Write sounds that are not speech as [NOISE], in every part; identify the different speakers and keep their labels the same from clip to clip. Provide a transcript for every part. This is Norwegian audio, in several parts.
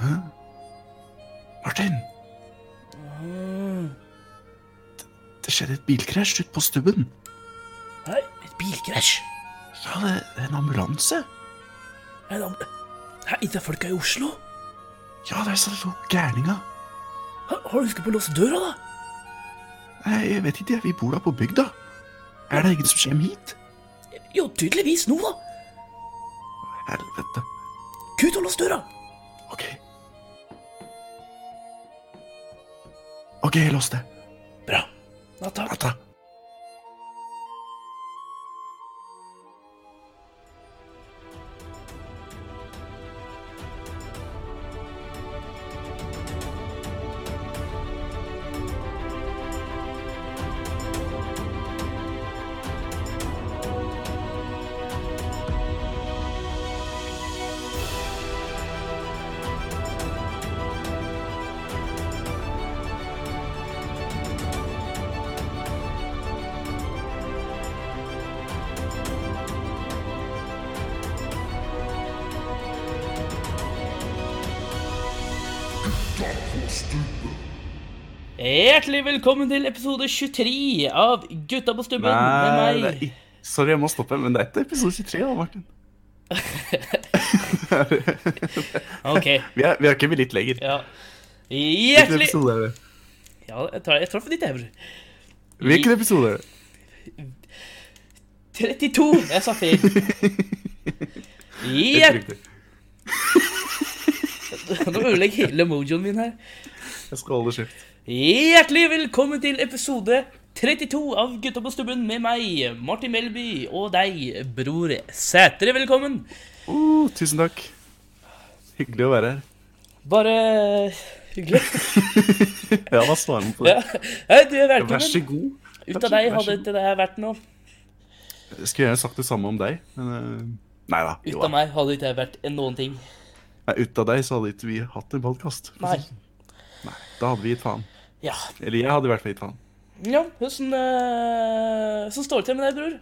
Speaker 1: Hæ? Martin,
Speaker 2: Mm.
Speaker 1: det skjedde et bilkrasj ute på stubben.
Speaker 2: Nei, et bilkrasj.
Speaker 1: Ja, det det er en ambulanse.
Speaker 2: Nei, da- Hæ, ikke er folka i Oslo?
Speaker 1: Ja, der satt to gærninger.
Speaker 2: Hæ, Har du husket på å låse døra, da?
Speaker 1: Nei, jeg vet ikke, jeg. vi bor da på bygda. Er det ingen som kommer hit?
Speaker 2: Jo, tydeligvis nå, da.
Speaker 1: Helvete.
Speaker 2: Kutt og lås døra.
Speaker 1: Ok. Ok, jeg låste.
Speaker 2: Bra. Natta.
Speaker 1: Natta.
Speaker 2: Hjertelig velkommen til episode 23 av Gutta på stubben med
Speaker 1: det
Speaker 2: meg.
Speaker 1: er i- Sorry, jeg må stoppe, men det er etter episode 23, da, Martin.
Speaker 2: Ok,
Speaker 1: Vi er, vi er ikke litt lenger.
Speaker 2: ja.
Speaker 1: Hvilken
Speaker 2: Hjertelig
Speaker 1: episode er det?
Speaker 2: Ja, jeg, tar, jeg traff ditt ever.
Speaker 1: Hvilken episode er det?
Speaker 2: 32! Jeg
Speaker 1: [LAUGHS]
Speaker 2: sa feil.
Speaker 1: Helt
Speaker 2: Hjert...
Speaker 1: riktig.
Speaker 2: Nå ødelegger hele mojoen min her.
Speaker 1: Jeg skal holde skift.
Speaker 2: Hjertelig velkommen til episode 32 av Gutta på stubben med meg, Martin Melby, og deg, Bror Sætre. Velkommen.
Speaker 1: Oh, tusen takk. Hyggelig å være her. [LAUGHS]
Speaker 2: Bare hyggelig.
Speaker 1: Ja, hva svarer man på
Speaker 2: Ja.
Speaker 1: det?
Speaker 2: Hei, du er
Speaker 1: Vær
Speaker 2: velkommen.
Speaker 1: så god.
Speaker 2: Ut av deg
Speaker 1: vær så
Speaker 2: hadde
Speaker 1: god.
Speaker 2: ikke det her vært noe.
Speaker 1: Jeg skulle gjerne sagt det samme om deg, men eh, Nei da.
Speaker 2: Ut av meg hadde ikke det vært noen ting.
Speaker 1: Nei, ut av deg så hadde ikke vi hatt en podkast.
Speaker 2: Nei.
Speaker 1: sånn. Da hadde vi gitt faen.
Speaker 2: Ja.
Speaker 1: Eller jeg hadde i hvert fall gitt faen.
Speaker 2: Ja, hvordan eh, hvordan står det til med deg, bror?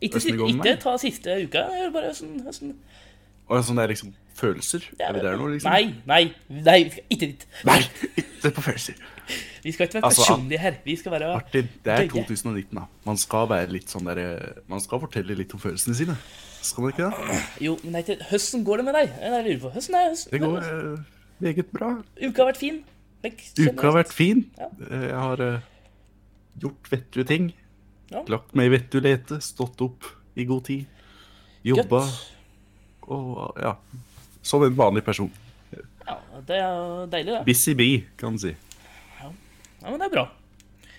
Speaker 2: Ikke,
Speaker 1: Hvordan det går med
Speaker 2: ikke
Speaker 1: meg?
Speaker 2: ta siste uka, jeg vil bare sånn- hvordan, hvordan
Speaker 1: Og sånn det er liksom følelser. Er vi der nå, liksom?
Speaker 2: Nei, nei, nei, vi skal ikke dit.
Speaker 1: Nei! Ikke på følelser.
Speaker 2: Vi skal ikke være
Speaker 1: Altså,
Speaker 2: personlige her. Vi skal være
Speaker 1: Martin, det er
Speaker 2: Gøye.
Speaker 1: 2019, da. Man skal være litt sånn der eh, Man skal fortelle litt om følelsene sine. Skal man ikke det?
Speaker 2: Jo, men nei, til- hvordan går det med deg? Jeg lurer på. Hvordan er
Speaker 1: Det går
Speaker 2: hvordan,
Speaker 1: eh, meget bra.
Speaker 2: Uka har vært fin. men generelt-
Speaker 1: Uka har vært fin.
Speaker 2: Ja.
Speaker 1: Eh, Jeg har eh, gjort vettue ting.
Speaker 2: Ja.
Speaker 1: Lagt meg i vettug lete, stått opp i god tid. Jobba
Speaker 2: Godt.
Speaker 1: og ja. Som en vanlig person.
Speaker 2: Ja, det er jo deilig, det.
Speaker 1: Busy bee, kan du si.
Speaker 2: Ja, men det er bra.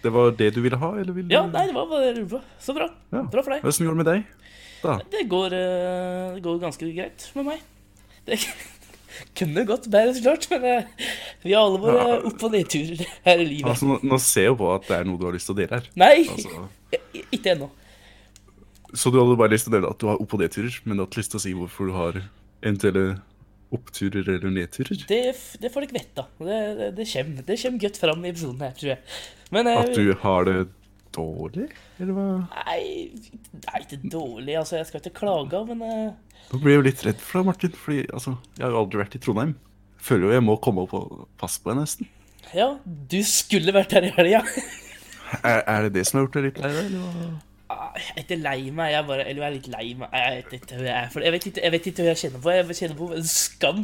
Speaker 1: Det var det du ville ha, eller ville
Speaker 2: Ja, nei, det var bare jeg lurte på. Så bra.
Speaker 1: Mm. Ja.
Speaker 2: Bra for deg.
Speaker 1: Hvordan går det med deg? Da.
Speaker 2: Det går, eh, det går ganske greit med meg. Det [LAUGHS] kunne gått bedre, så klart, men eh, vi har alle våre
Speaker 1: Ja.
Speaker 2: opp- og nedturer her i livet.
Speaker 1: Altså, nå, nå ser jeg jo på at det er noe du har lyst til å dele her.
Speaker 2: Nei,
Speaker 1: Altså,
Speaker 2: i- ikke ennå.
Speaker 1: så du hadde bare lyst til å dele at du har opp- og nedturer, men du har ikke lyst til å si hvorfor du har eventuelle oppturer eller nedturer?
Speaker 2: Det, f- det får dere vite. Det, det, det kommer det kommer godt fram i episoden her, tror jeg. Men eh,
Speaker 1: At du har det dårlig, eller hva?
Speaker 2: Nei, det er ikke dårlig. Altså, jeg skal ikke klage, men eh,
Speaker 1: Nå blir jeg jo litt redd for deg, Martin, fordi altså, jeg har jo aldri vært i Trondheim. Jeg føler jo jeg må komme opp og passe på deg nesten.
Speaker 2: Ja, du skulle vært her i helga.
Speaker 1: Er, er det det som har gjort deg litt lei deg, eller hva?
Speaker 2: [LAUGHS] Ah, Jeg er ikke lei meg, jeg er bare Eller jeg er litt lei meg. Jeg vet ikke hva jeg er for Jeg vet ikke, jeg vet ikke hva jeg kjenner på. Jeg kjenner på en skam.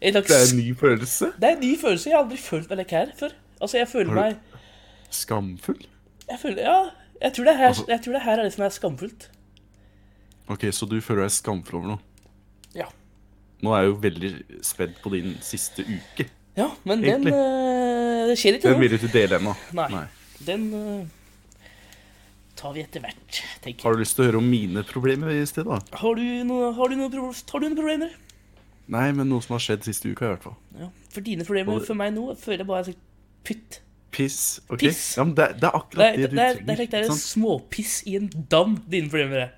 Speaker 2: En slags
Speaker 1: Det er en ny følelse.
Speaker 2: Det er en ny følelse. Jeg har aldri følt meg like her før. Altså, jeg føler
Speaker 1: Har du-
Speaker 2: meg
Speaker 1: Skamfull.
Speaker 2: Jeg føler Ja, jeg tror det er her,
Speaker 1: Altså-
Speaker 2: jeg tror det her er det som er skamfullt.
Speaker 1: Ok, så du føler deg skamfull over noe?
Speaker 2: Ja.
Speaker 1: Nå er jeg jo veldig spent på din siste uke.
Speaker 2: Ja, men den
Speaker 1: Egentlig.
Speaker 2: eh, Det skjer ikke
Speaker 1: Den
Speaker 2: nå.
Speaker 1: vil du ikke dele ennå.
Speaker 2: Nei. Den eh, tar vi etter hvert, tenker jeg.
Speaker 1: Har du lyst til å høre om mine problemer i sted, da?
Speaker 2: Har du noe- har du noen pro- har du noen problemer?
Speaker 1: Nei, men noe som har skjedd siste uka, i hvert fall.
Speaker 2: Ja, for dine problemer
Speaker 1: Og-
Speaker 2: for meg nå føler jeg bare er sånn pytt.
Speaker 1: Piss. ok?
Speaker 2: Piss.
Speaker 1: Ja, men det, det er
Speaker 2: Det
Speaker 1: akkurat det,
Speaker 2: er, det,
Speaker 1: du
Speaker 2: er, det, er,
Speaker 1: trenger.
Speaker 2: like det er
Speaker 1: ikke
Speaker 2: en
Speaker 1: sant?
Speaker 2: småpiss i en dam, dine problemer er.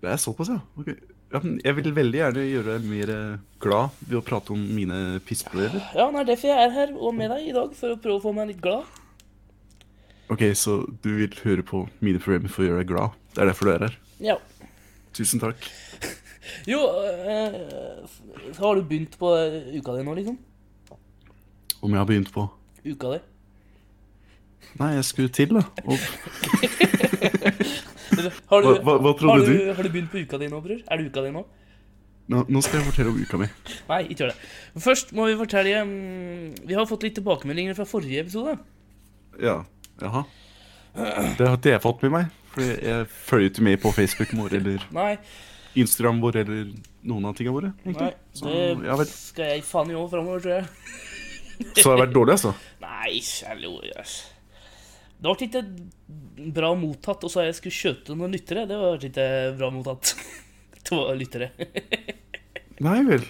Speaker 1: Det er såpass, ja. Ok. ja men jeg vil veldig gjerne gjøre deg mer eh, glad ved å prate om mine pissproblemer.
Speaker 2: Ja, det er derfor jeg er her og med deg i dag, for å prøve å få meg litt glad.
Speaker 1: Ok, så du vil høre på mine problemer for å gjøre deg glad. Det er derfor du er her.
Speaker 2: Ja.
Speaker 1: Tusen takk.
Speaker 2: Jo, eh, f- har du begynt på uka di nå, liksom?
Speaker 1: Om jeg har begynt på
Speaker 2: Uka di?
Speaker 1: Nei, jeg skulle til, da. Og,
Speaker 2: Har du,
Speaker 1: hva, hva, hva
Speaker 2: har,
Speaker 1: trodde
Speaker 2: du,
Speaker 1: du?
Speaker 2: har du begynt på uka di nå, bror? Er det uka di nå?
Speaker 1: Nå, nå skal jeg fortelle om uka mi.
Speaker 2: Nei, ikke gjør det. Først må vi fortelle mm, Vi har fått litt tilbakemeldinger fra forrige episode.
Speaker 1: Ja. Jaha. Det har ikke jeg fått med meg. For jeg følger ikke med på Facebooken vår eller
Speaker 2: Nei,
Speaker 1: Instagram vår eller noen av tingene våre.
Speaker 2: nei
Speaker 1: egentlig. Så jeg har
Speaker 2: det
Speaker 1: vært,
Speaker 2: skal jeg faen gjøre framover, tror jeg.
Speaker 1: så jeg har vært dårlig, altså.
Speaker 2: Nei, hallo, jøss. Det ble ikke eh, bra mottatt, og så jeg skulle skjøte noen lyttere. Det ble ikke eh, bra mottatt. [LAUGHS] To lyttere.
Speaker 1: Nei vel.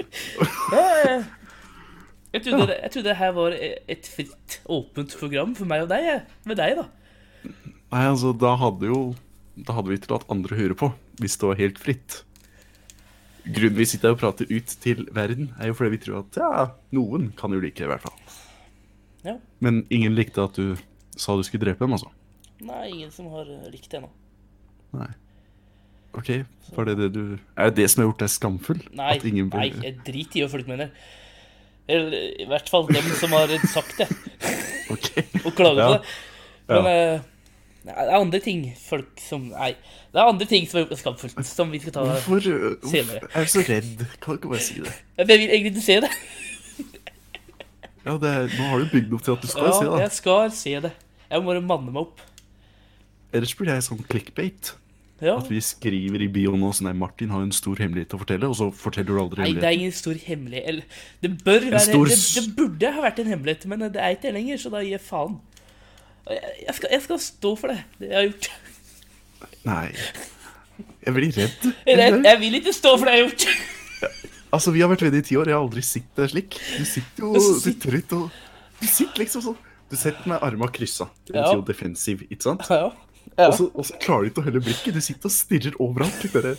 Speaker 2: Jeg trodde, det, jeg trodde det her var eh, et fritt, åpent program for meg og deg. jeg. Med deg, da.
Speaker 1: Nei, altså, da hadde jo Da hadde vi ikke latt andre høre på, hvis det var helt fritt. Grunnen vi sitter her og prater ut til verden, er jo fordi vi tror at ja, noen kan jo like det, i hvert fall.
Speaker 2: Ja.
Speaker 1: Men ingen likte at du sa du skulle drepe dem, altså.
Speaker 2: Nei, ingen som har eh, likt det ennå.
Speaker 1: Nei. OK, var det det du Er det det som har gjort deg skamfull?
Speaker 2: Nei,
Speaker 1: At ingen
Speaker 2: nei,
Speaker 1: bør-
Speaker 2: jeg driter i hva folk mener. Eller i hvert fall dem som har eh, sagt det,
Speaker 1: Ok.
Speaker 2: og klager
Speaker 1: Ja.
Speaker 2: på det. Men eh, nei, det er andre ting folk som Nei, det er andre ting som er skamfullt, som vi skal ta [LAUGHS]
Speaker 1: Hvorfor, øh,
Speaker 2: Senere.
Speaker 1: hvorfor er du så redd? Kan du ikke bare si det?
Speaker 2: Jeg vil egentlig ikke se det.
Speaker 1: Ja, det er, Nå har du bygd opp til at du skal si
Speaker 2: Ja,
Speaker 1: det.
Speaker 2: jeg skal se det. Jeg må bare manne meg opp.
Speaker 1: da. Ellers blir jeg sånn clickbait.
Speaker 2: Ja.
Speaker 1: At vi skriver i bioen nå sånn nei, Martin har en stor hemmelighet å fortelle, og så forteller du aldri
Speaker 2: Nei, det er
Speaker 1: hemmeligheten.
Speaker 2: ingen stor hemmelighet. Eller, det bør være
Speaker 1: stor
Speaker 2: det,
Speaker 1: s-
Speaker 2: det burde ha vært en hemmelighet, men det er ikke det lenger, så da gir jeg faen. Og Jeg, jeg, skal, jeg skal stå for det. Det jeg har gjort. [LAUGHS]
Speaker 1: Nei. Jeg blir redd.
Speaker 2: Eller, [LAUGHS] jeg, jeg vil ikke stå for det jeg har gjort.
Speaker 1: Altså, Vi har vært venner i ti år, jeg har aldri sett deg slik. Du sitter jo
Speaker 2: Så
Speaker 1: du
Speaker 2: sitt-
Speaker 1: sitter ut og Du sitter liksom sånn. Du sitter med armene kryssa. Det
Speaker 2: Ja.
Speaker 1: betyr jo defensiv, ikke sant?
Speaker 2: Ja, ja.
Speaker 1: Og så, og så klarer du ikke å holde blikket. Du sitter og stirrer overalt. du Bare.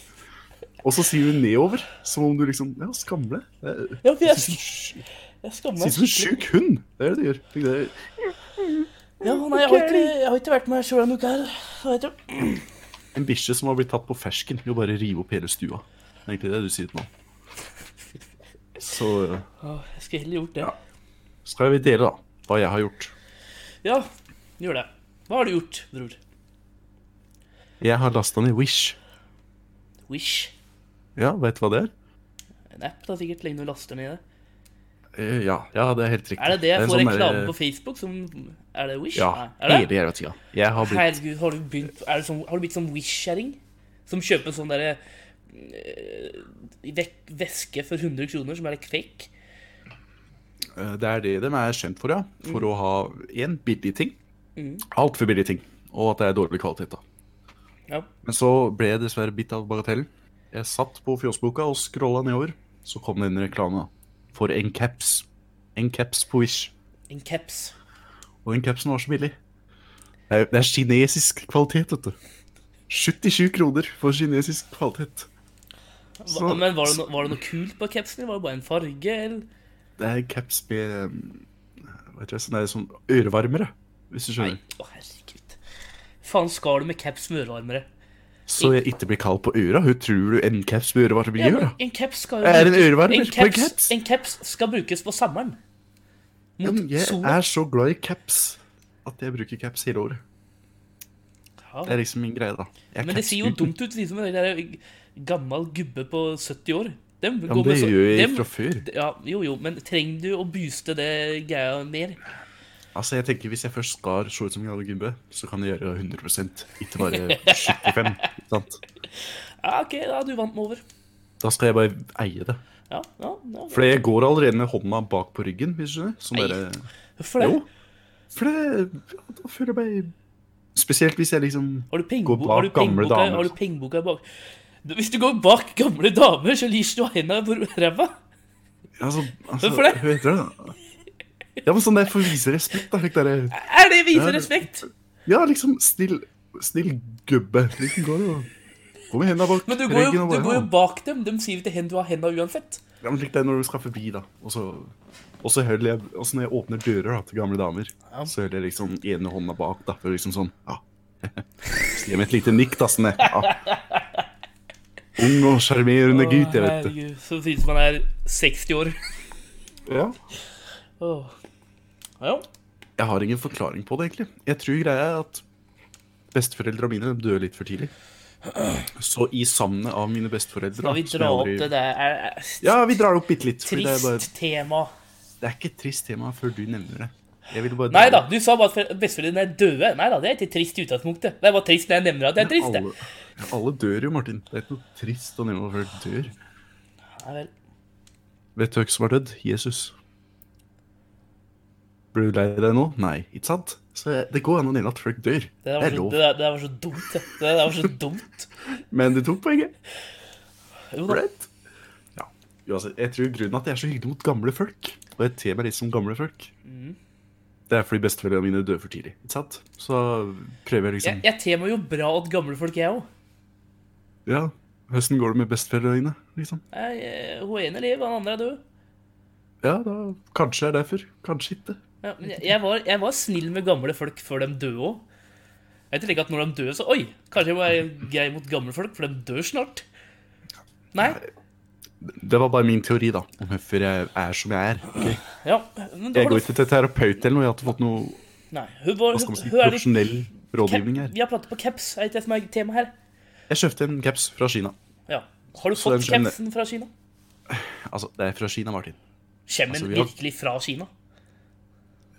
Speaker 1: Og så sier du nedover, som om du liksom Ja, skamle.
Speaker 2: Ja, for jeg-
Speaker 1: Sier
Speaker 2: Jeg skammer meg.
Speaker 1: som en sjuk hund. Det er det du gjør. Det er-
Speaker 2: Ja, nei, jeg, har ikke, jeg har ikke vært meg sjøl denne uka her. Jeg vet ikke.
Speaker 1: En bikkje som har blitt tatt på fersken ved å bare rive opp hele stua. Det er egentlig det du sier nå. Så eh,
Speaker 2: Å, Jeg skulle heller gjort det.
Speaker 1: skal vi dele, da, hva jeg har gjort.
Speaker 2: Ja, gjør det. Hva har du gjort, bror?
Speaker 1: Jeg har lasta ned Wish.
Speaker 2: Wish.
Speaker 1: Ja, veit du hva det er?
Speaker 2: En app, da, sikkert, lenge du laster ned det.
Speaker 1: Eh, Ja, ja, det er helt riktig.
Speaker 2: Er det det jeg får
Speaker 1: en sånn
Speaker 2: reklame
Speaker 1: der-
Speaker 2: på Facebook som Er det Wish?
Speaker 1: Ja,
Speaker 2: Nei, er det?
Speaker 1: hele jævla tida. Jeg har blitt
Speaker 2: Herregud, har du begynt er det sånn, Har du blitt sånn wish-kjerring? Som kjøper sånn derre eh, vek- Veske for 100 kroner som er litt fake?
Speaker 1: Eh, Det er det de er kjent for, ja. For
Speaker 2: Mm.
Speaker 1: å ha én billig ting. Altfor billig ting. Og at det er dårlig kvalitet, da.
Speaker 2: Ja.
Speaker 1: Men så ble jeg dessverre bitt av bagatellen. Jeg satt på fjosboka og scrolla nedover. Så kom det en reklame da, for en caps. En caps på Wish.
Speaker 2: En caps.
Speaker 1: Og den capsen var så billig. Det er, det er kinesisk kvalitet, vet du. 77 kroner for kinesisk kvalitet.
Speaker 2: Hva,
Speaker 1: Så-
Speaker 2: men var det, no, var det noe kult på capsen? eller Var det bare en farge? Eller?
Speaker 1: Det er en caps med um, Vet du, sånn, det er sånn ørevarmere, hvis du
Speaker 2: Nei,
Speaker 1: skjønner.
Speaker 2: å herregud. Faen skal du med caps med ørevarmere?
Speaker 1: Så jeg ikke blir kald på øra. Hun tror du en caps med ørevarmer
Speaker 2: Ja,
Speaker 1: gjør,
Speaker 2: men
Speaker 1: da.
Speaker 2: en caps skal jo
Speaker 1: Jeg er en
Speaker 2: brukes-
Speaker 1: ørevarmer
Speaker 2: en
Speaker 1: på en
Speaker 2: caps,
Speaker 1: caps.
Speaker 2: En caps skal brukes på sommeren.
Speaker 1: Ja,
Speaker 2: Mot
Speaker 1: men jeg
Speaker 2: sola.
Speaker 1: er så glad i caps at jeg bruker caps hele året. Det
Speaker 2: Ja.
Speaker 1: er liksom min greie, da. Jeg er
Speaker 2: Men det ser jo
Speaker 1: capsguden.
Speaker 2: dumt ut, liksom en der gammel gubbe på 70 år. Dem
Speaker 1: Ja, men
Speaker 2: går med
Speaker 1: det
Speaker 2: så-
Speaker 1: gjør jeg
Speaker 2: dem-
Speaker 1: fra før.
Speaker 2: Ja, jo, jo, men trenger du å booste det greia mer?
Speaker 1: Altså, jeg tenker Hvis jeg først skal se ut som en gammel gubbe, så kan jeg gjøre 100 ikke bare 75 ikke sant?
Speaker 2: Ja, Ah, OK, da er du vant meg over.
Speaker 1: Da skal jeg bare eie det.
Speaker 2: Ja, ja, ja.
Speaker 1: For jeg går allerede med hånda bak på ryggen. hvis du skjønner. Som
Speaker 2: Nei.
Speaker 1: bare,
Speaker 2: Hvorfor det?
Speaker 1: jo. For det, ja, da føler jeg meg Spesielt hvis jeg liksom
Speaker 2: Har du
Speaker 1: Gå
Speaker 2: pengebo-
Speaker 1: bak
Speaker 2: har du
Speaker 1: gamle
Speaker 2: pengeboka
Speaker 1: damer. altså.
Speaker 2: har du pengeboka bak Du- Hvis du går bak gamle damer, så liser du henda på ræva.
Speaker 1: altså, altså,
Speaker 2: Hvorfor det?
Speaker 1: Hva heter det? da? Ja, men sånn der for å vise respekt. da, slik der,
Speaker 2: Er det vise
Speaker 1: Ja, det-
Speaker 2: respekt?
Speaker 1: Ja, liksom snill, snill gubbe. Liksom går det jo. Gå med henda bak
Speaker 2: Men du går, jo,
Speaker 1: og
Speaker 2: du
Speaker 1: bare,
Speaker 2: går jo
Speaker 1: ja.
Speaker 2: bak dem. De sier jo til hen du har henda uansett.
Speaker 1: Ja, men Slik det er når du skal forbi, da. Og så, og så hører jeg, og så når jeg åpner dører da, til gamle damer, så hører jeg liksom ene hånda bak. da, [LAUGHS] for liksom sånn, ja. Så gir jeg meg et lite nikk, da. sånn jeg, ja. Ung og sjarmerende
Speaker 2: Å,
Speaker 1: gutt, jeg vet det.
Speaker 2: herregud, Så synes man er 60 år.
Speaker 1: Ja.
Speaker 2: Åh. Ja,
Speaker 1: Jeg har ingen forklaring på det, egentlig. Jeg tror greia er at besteforeldra mine de døde litt for tidlig. Så i savnet av mine besteforeldre
Speaker 2: skal vi
Speaker 1: som jeg
Speaker 2: dra opp
Speaker 1: aldri-
Speaker 2: det der er, er,
Speaker 1: Ja, vi drar det opp bitte litt. fordi Det er, bare,
Speaker 2: Trist tema.
Speaker 1: det er ikke et trist tema før du nevner det. Jeg ville bare
Speaker 2: Nei da, du sa bare at fe- besteforeldrene er døde. Nei da, det er ikke trist i utgangspunktet. Det er bare trist når jeg nevner at det er trist. det.
Speaker 1: alle, ja, alle dør jo, Martin. Det er ikke noe trist å nevne før du dør.
Speaker 2: Nei vel.
Speaker 1: Vet du hvem som har dødd? Jesus. Blir du lei deg nå? Nei, ikke sant? Så jeg- det går an å nevne at folk dør.
Speaker 2: Det
Speaker 1: Det
Speaker 2: der
Speaker 1: er
Speaker 2: var så,
Speaker 1: lov.
Speaker 2: det der, det der var så dumt, det. Det der var så dumt.
Speaker 1: Men du tok poenget.
Speaker 2: Jo da.
Speaker 1: Right? Ja. Uansett, jeg tror grunnen at jeg er så hyggelig mot gamle folk, og jeg ter meg litt som gamle folk,
Speaker 2: Mm.
Speaker 1: det er fordi besteforeldrene mine dør for tidlig. Ikke sant? Så prøver jeg
Speaker 2: Jeg,
Speaker 1: liksom
Speaker 2: jeg ter meg jo bra åt gamle folk, jeg òg.
Speaker 1: Ja, hvordan går det med besteforeldrene dine? Liksom.
Speaker 2: eh, Hun ene lever, han andre er død.
Speaker 1: Ja, da kanskje det er derfor. Kanskje ikke.
Speaker 2: Ja, men jeg, jeg, var, jeg var snill med gamle folk før de døde òg. Jeg tenker ikke at når de dør, så Oi, kanskje jeg må være grei mot gamle folk, for de dør snart. Nei.
Speaker 1: Det var bare min teori, da, om hvorfor jeg er som jeg er. ok?
Speaker 2: Ja. Men da
Speaker 1: Jeg
Speaker 2: har du
Speaker 1: går ikke til terapeut eller noe, jeg har ikke fått noe
Speaker 2: Nei. Hun var
Speaker 1: hva
Speaker 2: hun,
Speaker 1: skal man si,
Speaker 2: hun er litt
Speaker 1: profesjonell rådgivning her.
Speaker 2: Vi har pratet på caps, er ikke det som er temaet her?
Speaker 1: Jeg kjøpte en caps fra Kina.
Speaker 2: Ja. Har du
Speaker 1: Så
Speaker 2: fått
Speaker 1: den skjønner-
Speaker 2: capsen fra Kina?
Speaker 1: Altså, det er fra Kina, Martin.
Speaker 2: Kommer
Speaker 1: Altså,
Speaker 2: den
Speaker 1: vi har-
Speaker 2: virkelig fra Kina?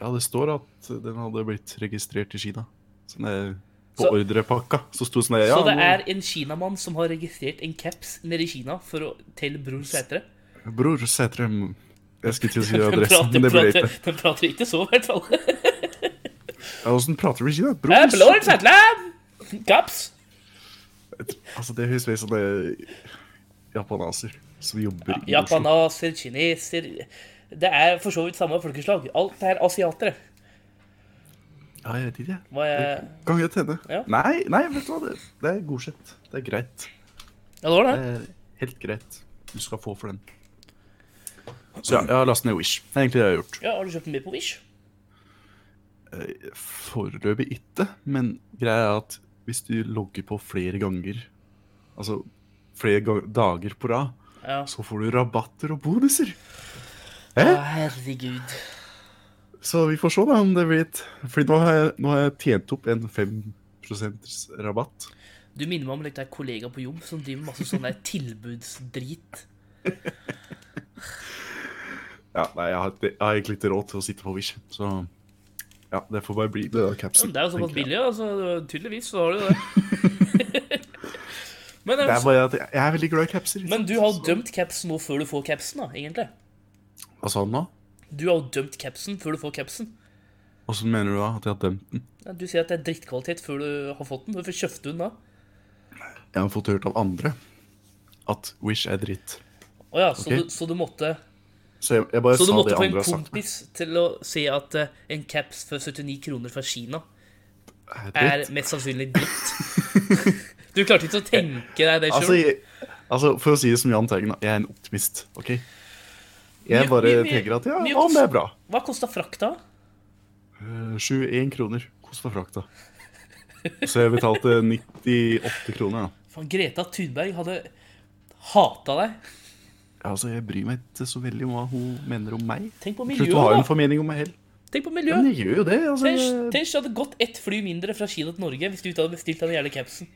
Speaker 1: Ja, det står at den hadde blitt registrert i Kina. Sånn er på
Speaker 2: Så-
Speaker 1: ordrepakka. Så sto det sånn der, ja,
Speaker 2: Så det er en kinamann som har registrert en caps nede i Kina for å til Bror Sætre?
Speaker 1: nå, Bror Sætrem Jeg skulle til å
Speaker 2: [LAUGHS]
Speaker 1: si
Speaker 2: Den
Speaker 1: adressen,
Speaker 2: prater,
Speaker 1: men det ble
Speaker 2: prater,
Speaker 1: ikke.
Speaker 2: den prater ikke så, i hvert fall. [LAUGHS]
Speaker 1: Ja, Åssen prater du i Kina?
Speaker 2: Ja,
Speaker 1: Bror
Speaker 2: Bror
Speaker 1: Sætrem.
Speaker 2: Sætre! Caps!
Speaker 1: Altså, det høres ut som det er japanaser som jobber i Oslo.
Speaker 2: Japanaser, kineser Det er for så vidt samme folkeslag. Alt er asiatere.
Speaker 1: Ja, jeg vet ikke, jeg.
Speaker 2: Hva jeg...
Speaker 1: Kan godt hende.
Speaker 2: Ja.
Speaker 1: Nei, nei, vet du hva. Det, det er godkjent. Det er greit.
Speaker 2: Ja, det var
Speaker 1: Det
Speaker 2: det.
Speaker 1: er helt greit. Du skal få for den. Så ja, jeg har lastet ned Wish. Det er egentlig det jeg har gjort.
Speaker 2: Ja, Har du kjøpt den med på Wish?
Speaker 1: Foreløpig ikke, men greia er at hvis du logger på flere ganger, altså flere ga- dager på rad,
Speaker 2: Ja.
Speaker 1: så får du rabatter og bonuser.
Speaker 2: Å,
Speaker 1: Hæ?
Speaker 2: herregud.
Speaker 1: Så vi får se da om det blir et Fordi nå har jeg, nå har jeg tjent opp en 5 rabatt.
Speaker 2: Du minner meg om litt der kollega på jobb som driver med masse sånn der [LAUGHS] tilbudsdrit.
Speaker 1: Ja, nei, jeg har, ikke- jeg har egentlig ikke råd til å sitte på Wish, så ja, det får bare bli det da,
Speaker 2: Ja,
Speaker 1: capsen.
Speaker 2: men det er jo såpass
Speaker 1: tenker jeg.
Speaker 2: billig, altså. Tydeligvis så har du jo [LAUGHS] det. Men, eh,
Speaker 1: Det er bare at jeg jeg er veldig glad i capser. ikke
Speaker 2: altså. men
Speaker 1: sant?
Speaker 2: du har jo
Speaker 1: Så-
Speaker 2: dømt capsen nå før du får capsen, da, egentlig.
Speaker 1: Hva sa han da?
Speaker 2: Du har jo dømt capsen før du får capsen.
Speaker 1: Åssen mener du da at jeg har dømt den?
Speaker 2: Ja, Du sier at det er drittkvalitet før du har fått den. Hvorfor kjøpte du den da?
Speaker 1: Jeg har fått hørt av andre at Wish er dritt.
Speaker 2: Å ja, så,
Speaker 1: Ok.
Speaker 2: du, så du måtte
Speaker 1: Så jeg, jeg bare
Speaker 2: Så du
Speaker 1: sa
Speaker 2: måtte
Speaker 1: det
Speaker 2: få en
Speaker 1: andre har sagt.
Speaker 2: kompis til å si at eh, en caps for 79 kroner fra Kina er
Speaker 1: Dritt.
Speaker 2: mest sannsynlig dritt? [LAUGHS] Du klarte ikke å tenke deg det
Speaker 1: Altså,
Speaker 2: sjøl?
Speaker 1: jeg, altså, for å si det som Jahn Teigen, da, jeg er en optimist, OK? Jeg
Speaker 2: Mye-
Speaker 1: bare
Speaker 2: mye- mye-
Speaker 1: tenker at ja,
Speaker 2: mye-
Speaker 1: om det er bra.
Speaker 2: Hva kosta frakta?
Speaker 1: Eh, 7-1 kroner. Kosta frakta. Så jeg
Speaker 2: [LAUGHS]
Speaker 1: betalte 98 kroner, da.
Speaker 2: Faen, Greta Thunberg hadde hata deg.
Speaker 1: Ja, Altså, jeg bryr meg ikke så veldig om hva hun mener om meg.
Speaker 2: Tenk på
Speaker 1: Slutt å ha
Speaker 2: miljøet,
Speaker 1: en
Speaker 2: da.
Speaker 1: formening om meg helt.
Speaker 2: Tenk på
Speaker 1: Ja, men
Speaker 2: miljøet.
Speaker 1: jeg gjør jo det. Altså,
Speaker 2: Tenk
Speaker 1: jeg,
Speaker 2: tenk, det hadde gått ett fly mindre fra Kina til Norge hvis du ikke hadde bestilt den jævla capsen.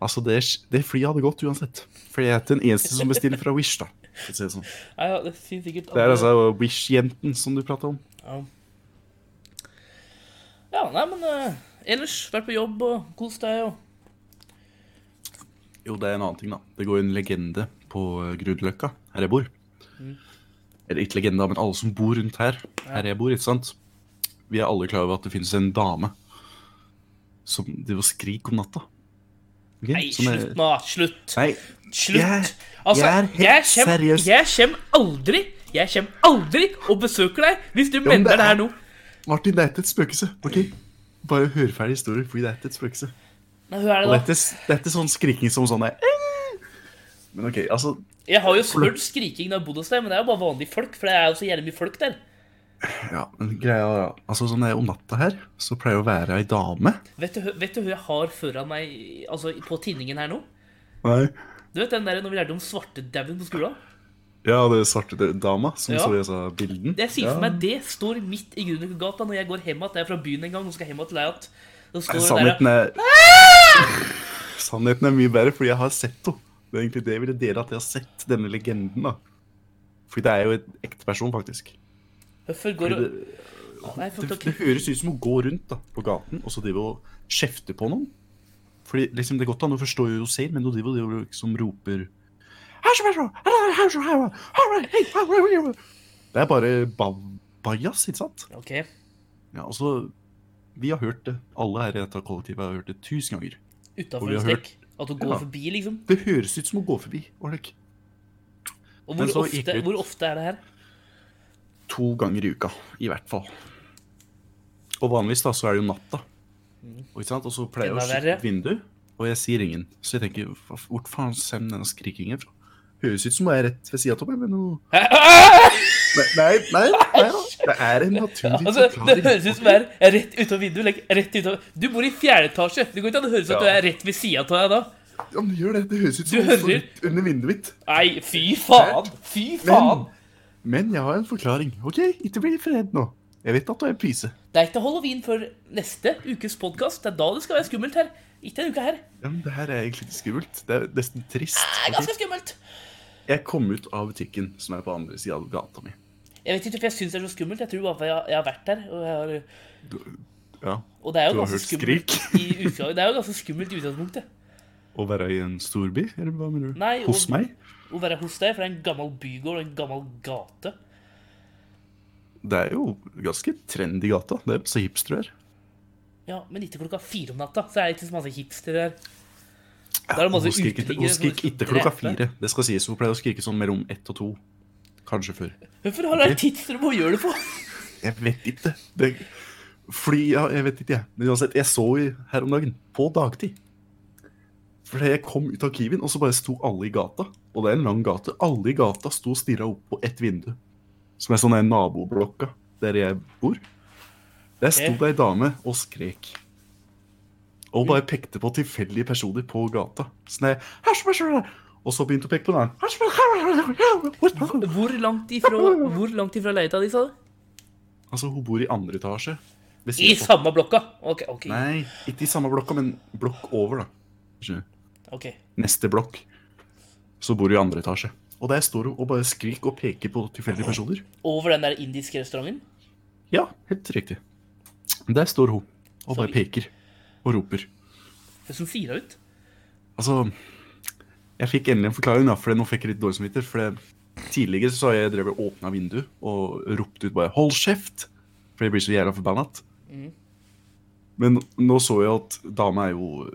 Speaker 1: altså det, det flyet hadde gått uansett. Fordi jeg er ikke den eneste som bestiller fra Wish, da. for å si Det sånn.
Speaker 2: Nei, ja, det finnes sikkert
Speaker 1: Det er
Speaker 2: andre-
Speaker 1: altså Wish-jenten som du prater om.
Speaker 2: Ja, ja nei, men eh, ellers, vært på jobb og kost deg og
Speaker 1: Jo, det er en annen ting, da. Det går en legende på eh, Grünerløkka, her jeg bor.
Speaker 2: Mm.
Speaker 1: Eller ikke legenda, men alle som bor rundt her, her jeg bor, ikke sant. Vi er alle klar over at det finnes en dame som driver og skriker om natta. Ok?
Speaker 2: Nei,
Speaker 1: Som er-
Speaker 2: slutt nå. Slutt.
Speaker 1: Nei,
Speaker 2: Slutt.
Speaker 1: jeg-
Speaker 2: altså,
Speaker 1: jeg er helt
Speaker 2: kjem,
Speaker 1: seriøs.
Speaker 2: Jeg kommer aldri Jeg kjem aldri og besøker deg hvis du
Speaker 1: men
Speaker 2: mener
Speaker 1: det
Speaker 2: det her
Speaker 1: er-
Speaker 2: nå.
Speaker 1: Martin, det er ikke et spøkelse. ok? Bare hør ferdig historien, fordi det er ikke et spøkelse.
Speaker 2: Nei, hør
Speaker 1: Og
Speaker 2: her, da.
Speaker 1: dette, dette er sånn skriking som sånn er Men OK, altså
Speaker 2: Jeg har jo spurt skriking når jeg har bodd hos deg, men det er jo bare vanlige folk. For det er jo så jævlig mye folk der.
Speaker 1: Ja, men greia er Altså, sånn det er om natta her, så pleier det å være ei dame
Speaker 2: Vet du, hø- vet du hva jeg har foran meg altså, på tinningen her nå?
Speaker 1: Nei.
Speaker 2: Du vet den der når vi lærte om svartedauden på skolen?
Speaker 1: Ja, det er svarte det- dama som
Speaker 2: Ja.
Speaker 1: så i disse bildene.
Speaker 2: Jeg sier
Speaker 1: Ja.
Speaker 2: for meg det står midt i Grünergata når jeg går hjem igjen. Jeg er fra byen en gang og skal hjem igjen til deg igjen. Da står det der,
Speaker 1: Sannheten er Sannheten er mye bedre, fordi jeg har sett henne. Det er egentlig det jeg ville dele, at jeg har sett denne legenden. da. Fordi det er jo en ekte person, faktisk.
Speaker 2: Hvorfor går
Speaker 1: Fordi
Speaker 2: du
Speaker 1: det,
Speaker 2: Nei, fuck,
Speaker 1: det,
Speaker 2: ok.
Speaker 1: det høres ut som hun går rundt da, på gaten og så driver hun og kjefter på noen. Fordi liksom, Det er godt an å forstå hva hun sier, men hun driver og driver og liksom roper Det er bare ba- bajas, ikke sant?
Speaker 2: Ok,
Speaker 1: Ja, altså, Vi har hørt det. Alle her i dette kollektivet har hørt det tusen ganger. Hvor
Speaker 2: utafor
Speaker 1: vi
Speaker 2: en
Speaker 1: har
Speaker 2: stek. At hun går
Speaker 1: Ja.
Speaker 2: forbi, liksom.
Speaker 1: Det høres ut som hun går forbi. Orlik. Men
Speaker 2: Og hvor
Speaker 1: så gikk
Speaker 2: ofte,
Speaker 1: det ut.
Speaker 2: hvor ofte er det her?
Speaker 1: To ganger i uka, i hvert fall. Og vanligvis da, så er det jo natta. Og, ikke sant? og så pleier jeg å
Speaker 2: Mm. Enda
Speaker 1: sjekke
Speaker 2: verre.
Speaker 1: ut vinduet, og jeg sier ingen. Så jeg tenker, "Hva f- hvor faen kommer denne skrikingen fra? Høres ut som hun er rett ved sida av meg, men hun
Speaker 2: [LAUGHS] Altså,
Speaker 1: Nei, nei, nei, nei da. Det er en naturlig
Speaker 2: Altså, det
Speaker 1: forklaring.
Speaker 2: høres ut som det er rett utover vinduet. Like, rett utover. Du bor i fjerde etasje. Det går ikke an å høres ut at du
Speaker 1: Ja.
Speaker 2: er rett ved sida av deg da.
Speaker 1: Ja, men gjør det. Det høres ut som
Speaker 2: Du
Speaker 1: hun står
Speaker 2: hører.
Speaker 1: rett under vinduet mitt.
Speaker 2: Nei, fy faen! Fy faen!
Speaker 1: Men, men jeg har en forklaring. OK, ikke bli redd nå. Jeg vet at du er en pyse.
Speaker 2: Det er ikke halloween før neste ukes podkast. Det er da det skal være skummelt her. Ikke denne uka her.
Speaker 1: Ja, men det her er egentlig litt skummelt. Det er nesten trist.
Speaker 2: Det er
Speaker 1: Ok?
Speaker 2: ganske skummelt.
Speaker 1: Jeg kom ut av butikken som er på andre sida av gata mi.
Speaker 2: Jeg vet ikke hvorfor jeg syns det er så skummelt. Jeg tror bare for jeg, jeg har vært der. Og, jeg har,
Speaker 1: Ja,
Speaker 2: og det er
Speaker 1: Du
Speaker 2: jo
Speaker 1: har
Speaker 2: ganske
Speaker 1: hørt
Speaker 2: skummelt i utgang- Det er jo ganske skummelt i utgangspunktet.
Speaker 1: Å være i en storby, eller hva mener du?
Speaker 2: Nei,
Speaker 1: Hos
Speaker 2: og-
Speaker 1: meg?
Speaker 2: Å være hos deg, for det er en gammel bygård og en gammel gate.
Speaker 1: Det er jo ganske trendy gata. Det er så hipster du er.
Speaker 2: Ja, Men ikke klokka fire om natta, så er det ikke så masse hipstere her. Da er det masse
Speaker 1: Hun skrek ikke- hun
Speaker 2: uteliggere som
Speaker 1: skrek
Speaker 2: skal
Speaker 1: ikke klokka
Speaker 2: drepe.
Speaker 1: fire. Det skal sies. Hun pleier å skrike sånn mellom ett og to. Kanskje før.
Speaker 2: Hvorfor har dere tidsrom å gjøre det på?
Speaker 1: Jeg vet ikke. Det, fordi ja, Jeg vet ikke, jeg. Men uansett, jeg så i- her om dagen, på dagtid Fordi jeg kom ut av Kiwien, og så bare sto alle i gata. Og det er en lang gate. Alle i gata sto og stirra opp på ett vindu. Som er sånn der naboblokka der jeg bor. Der sto
Speaker 2: Ok.
Speaker 1: det ei dame og skrek. Og bare pekte på tilfeldige personer på gata. Sånn jeg, «Hasj, hasj, hasj», Og så begynte hun å peke på en annen. «Hasj, hasj, hasj, hasj».
Speaker 2: Hvor langt ifra, hvor langt ifra leiligheta di, sa du?
Speaker 1: Altså, hun bor i andre etasje. ved
Speaker 2: I
Speaker 1: siden av
Speaker 2: samme blokka? Ok, ok.
Speaker 1: Nei, ikke i samme blokka, men blokk over, da. Skjønner du?
Speaker 2: ok.
Speaker 1: Neste blokk. Så bor du i andre etasje. Og der står hun og bare skriker og peker på tilfeldige personer.
Speaker 2: Over den der indiske restauranten?
Speaker 1: Ja, helt riktig. Der står hun og bare
Speaker 2: Sorry.
Speaker 1: peker og roper.
Speaker 2: Hvordan sier hun ut?
Speaker 1: Altså Jeg fikk endelig en forklaring, da, for nå fikk jeg litt dårlig samvittighet. For det- tidligere så har jeg drevet og åpna vinduet og ropt ut bare 'hold kjeft', for jeg blir så jævla forbanna.
Speaker 2: Mm.
Speaker 1: Men nå så jeg at dama er jo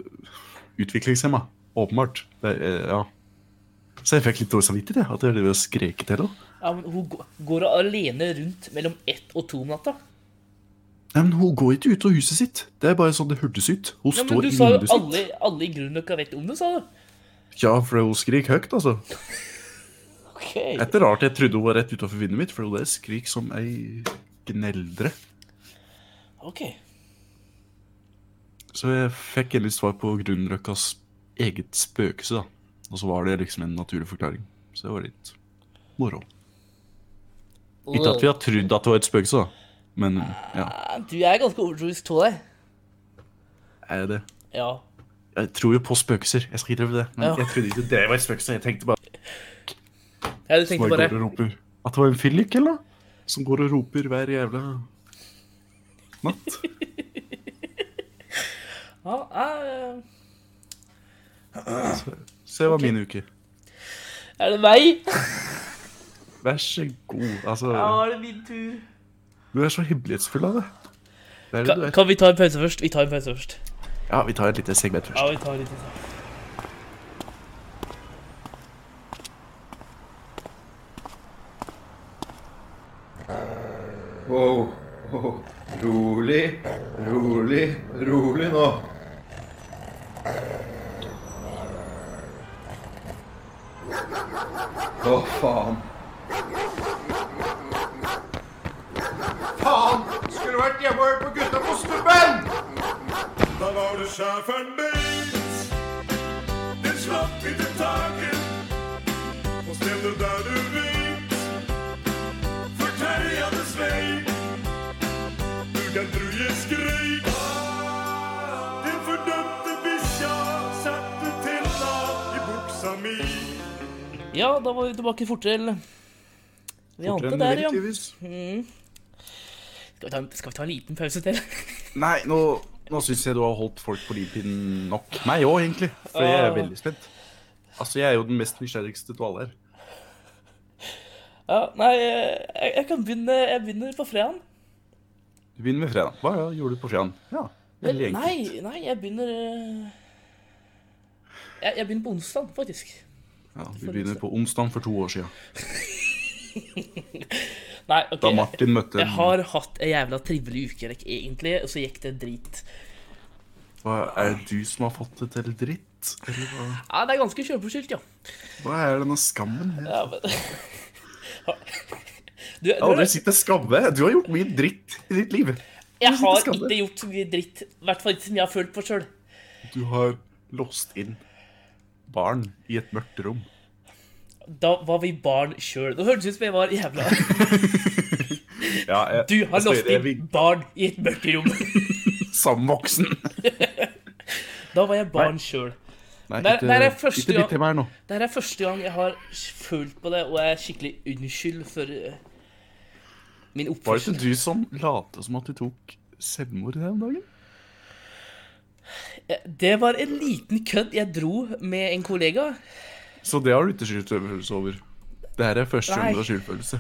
Speaker 1: utviklingshemma, åpenbart. Det, er- eh, ja. Så jeg fikk litt dårlig samvittighet, jeg, at jeg drev og skrek til henne.
Speaker 2: Ja, men Hun gå- går alene rundt mellom ett og to om natta.
Speaker 1: Nei, men Hun går ikke ut av huset sitt. Det er bare sånn det hørtes ut. Hun
Speaker 2: Ja, men
Speaker 1: står i
Speaker 2: du sa jo
Speaker 1: vinduet sitt.
Speaker 2: alle, alle i Grünerløkka vet om det, sa du?
Speaker 1: Ja, for hun skriker høyt, altså.
Speaker 2: Ok.
Speaker 1: Det er rart jeg trodde hun var rett utenfor vinduet mitt, for hun der skrik som ei gneldre.
Speaker 2: ok.
Speaker 1: Så jeg fikk endelig svar på Grünerløkkas eget spøkelse, da. Og så var det liksom en naturlig forklaring. Så det var litt moro. Ikke at vi har trodd at det var et spøkelse, da. Men ja,
Speaker 2: Ah, Du er ganske overtroisk av deg.
Speaker 1: er det det?
Speaker 2: Ja.
Speaker 1: Jeg tror jo på spøkelser, jeg skal innrømme det. Men
Speaker 2: Ja.
Speaker 1: jeg trodde ikke det var et spøkelse. Jeg tenkte bare,
Speaker 2: ja. Du tenkte
Speaker 1: bare
Speaker 2: bare
Speaker 1: går og roper. At det var en fyllik, eller? noe, Som går og roper hver jævla natt.
Speaker 2: ja, ah,
Speaker 1: Så det var min uke.
Speaker 2: Er det meg?
Speaker 1: Vær så god. Altså,
Speaker 2: Ja, er det min tur?
Speaker 1: du er så hemmelighetsfull av det. Det er det du
Speaker 2: Kan,
Speaker 1: er.
Speaker 2: kan vi ta en pause først? Vi tar en pause først.
Speaker 1: Ja, vi tar et lite segment først.
Speaker 2: Ja, vi tar litt pause.
Speaker 3: Wow. wow. Rolig, rolig, rolig nå. Å, faen. Faen! Skulle vært hjemme og hørt på gutta på stubben!
Speaker 4: Da var det schäfern mit, den schlapp mit dem Tag in Jeg skreik Den fordømte bikkja satte tenna i buksa mi
Speaker 2: Ja, da var vi tilbake fort til Vi ante
Speaker 1: Fortere enn
Speaker 2: der, ja.
Speaker 1: tydeligvis.
Speaker 2: Skal vi ta en, skal vi ta en liten pause til?
Speaker 1: Nei, nå, nå syns jeg du har holdt folk på livpinnen nok. Meg òg, egentlig. For jeg
Speaker 2: Ah.
Speaker 1: er veldig spent. Altså, jeg er jo den mest nysgjerrigste til alle her.
Speaker 2: [LAUGHS] Ja, nei, jeg, jeg kan begynne Jeg begynner på fredagen.
Speaker 1: Du begynner med fredag. Hva ja, gjorde du på fredag? Ja,
Speaker 2: Vel,
Speaker 1: veldig enkelt.
Speaker 2: nei, nei, jeg begynner eh, jeg, jeg begynner på onsdag, faktisk.
Speaker 1: Ja, vi begynner på onsdag for to år siden.
Speaker 2: Nei, ok.
Speaker 1: Da Martin møtte
Speaker 2: Jeg har hatt ei jævla trivelig uke, like, egentlig, og så gikk det drit.
Speaker 1: Hva, Er det du som har fått det til dritt? Eller hva,
Speaker 2: Ja, det er ganske sjølforskyldt, ja.
Speaker 1: hva er denne skammen? her?
Speaker 2: ja [LAUGHS] men... du, du,
Speaker 1: Jeg har aldri sett deg skamme. Du har gjort mye dritt i ditt liv.
Speaker 2: jeg
Speaker 1: sitter og
Speaker 2: har
Speaker 1: skammer.
Speaker 2: ikke gjort så mye dritt, i hvert fall ikke som jeg har følt på sjøl.
Speaker 1: Du har låst inn barn i et mørkt rom.
Speaker 2: Da var vi barn sjøl. Det hørtes ut som jeg var jævla
Speaker 1: Ja, jeg,
Speaker 2: Du har
Speaker 1: altså,
Speaker 2: låst
Speaker 1: jeg-
Speaker 2: inn barn i et mørkt rom.
Speaker 1: jeg- Sammen voksen.
Speaker 2: Da var jeg barn sjøl.
Speaker 1: Nei,
Speaker 2: Der-
Speaker 1: ikke,
Speaker 2: der er første
Speaker 1: ikke
Speaker 2: gang-
Speaker 1: ditt til meg nå.
Speaker 2: Dette er første gang jeg har følt på det, og jeg er skikkelig unnskyld for eh, min
Speaker 1: Var det
Speaker 2: oppførsel.
Speaker 1: ikke du som late som at du tok selvmord den dagen?
Speaker 2: Eh, Det var en liten kødd jeg dro med en kollega.
Speaker 1: Så det har du ikke skyldfølelse over. Det her er første
Speaker 2: Nei.
Speaker 1: gang du har skyldfølelse.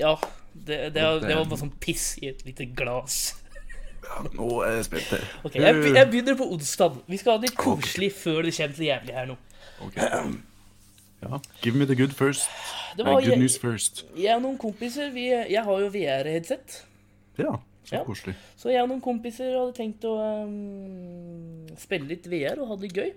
Speaker 2: Ja, det, det, det var bare sånn piss i et lite glass.
Speaker 1: Nå er jeg spent her.
Speaker 2: Ok, jeg, be- jeg begynner på onsdag. Vi skal ha det litt koselig før det kommer til jævlig her nå.
Speaker 1: Ok. Uh, Ja, give me the good first.
Speaker 2: Det
Speaker 1: Nei,
Speaker 2: var
Speaker 1: good
Speaker 2: jeg,
Speaker 1: news first.
Speaker 2: jeg og noen kompiser vi, Jeg har jo VR-headset.
Speaker 1: Ja, så
Speaker 2: Ja.
Speaker 1: koselig.
Speaker 2: Så jeg og noen kompiser hadde tenkt å ehm, spille litt VR og ha det gøy.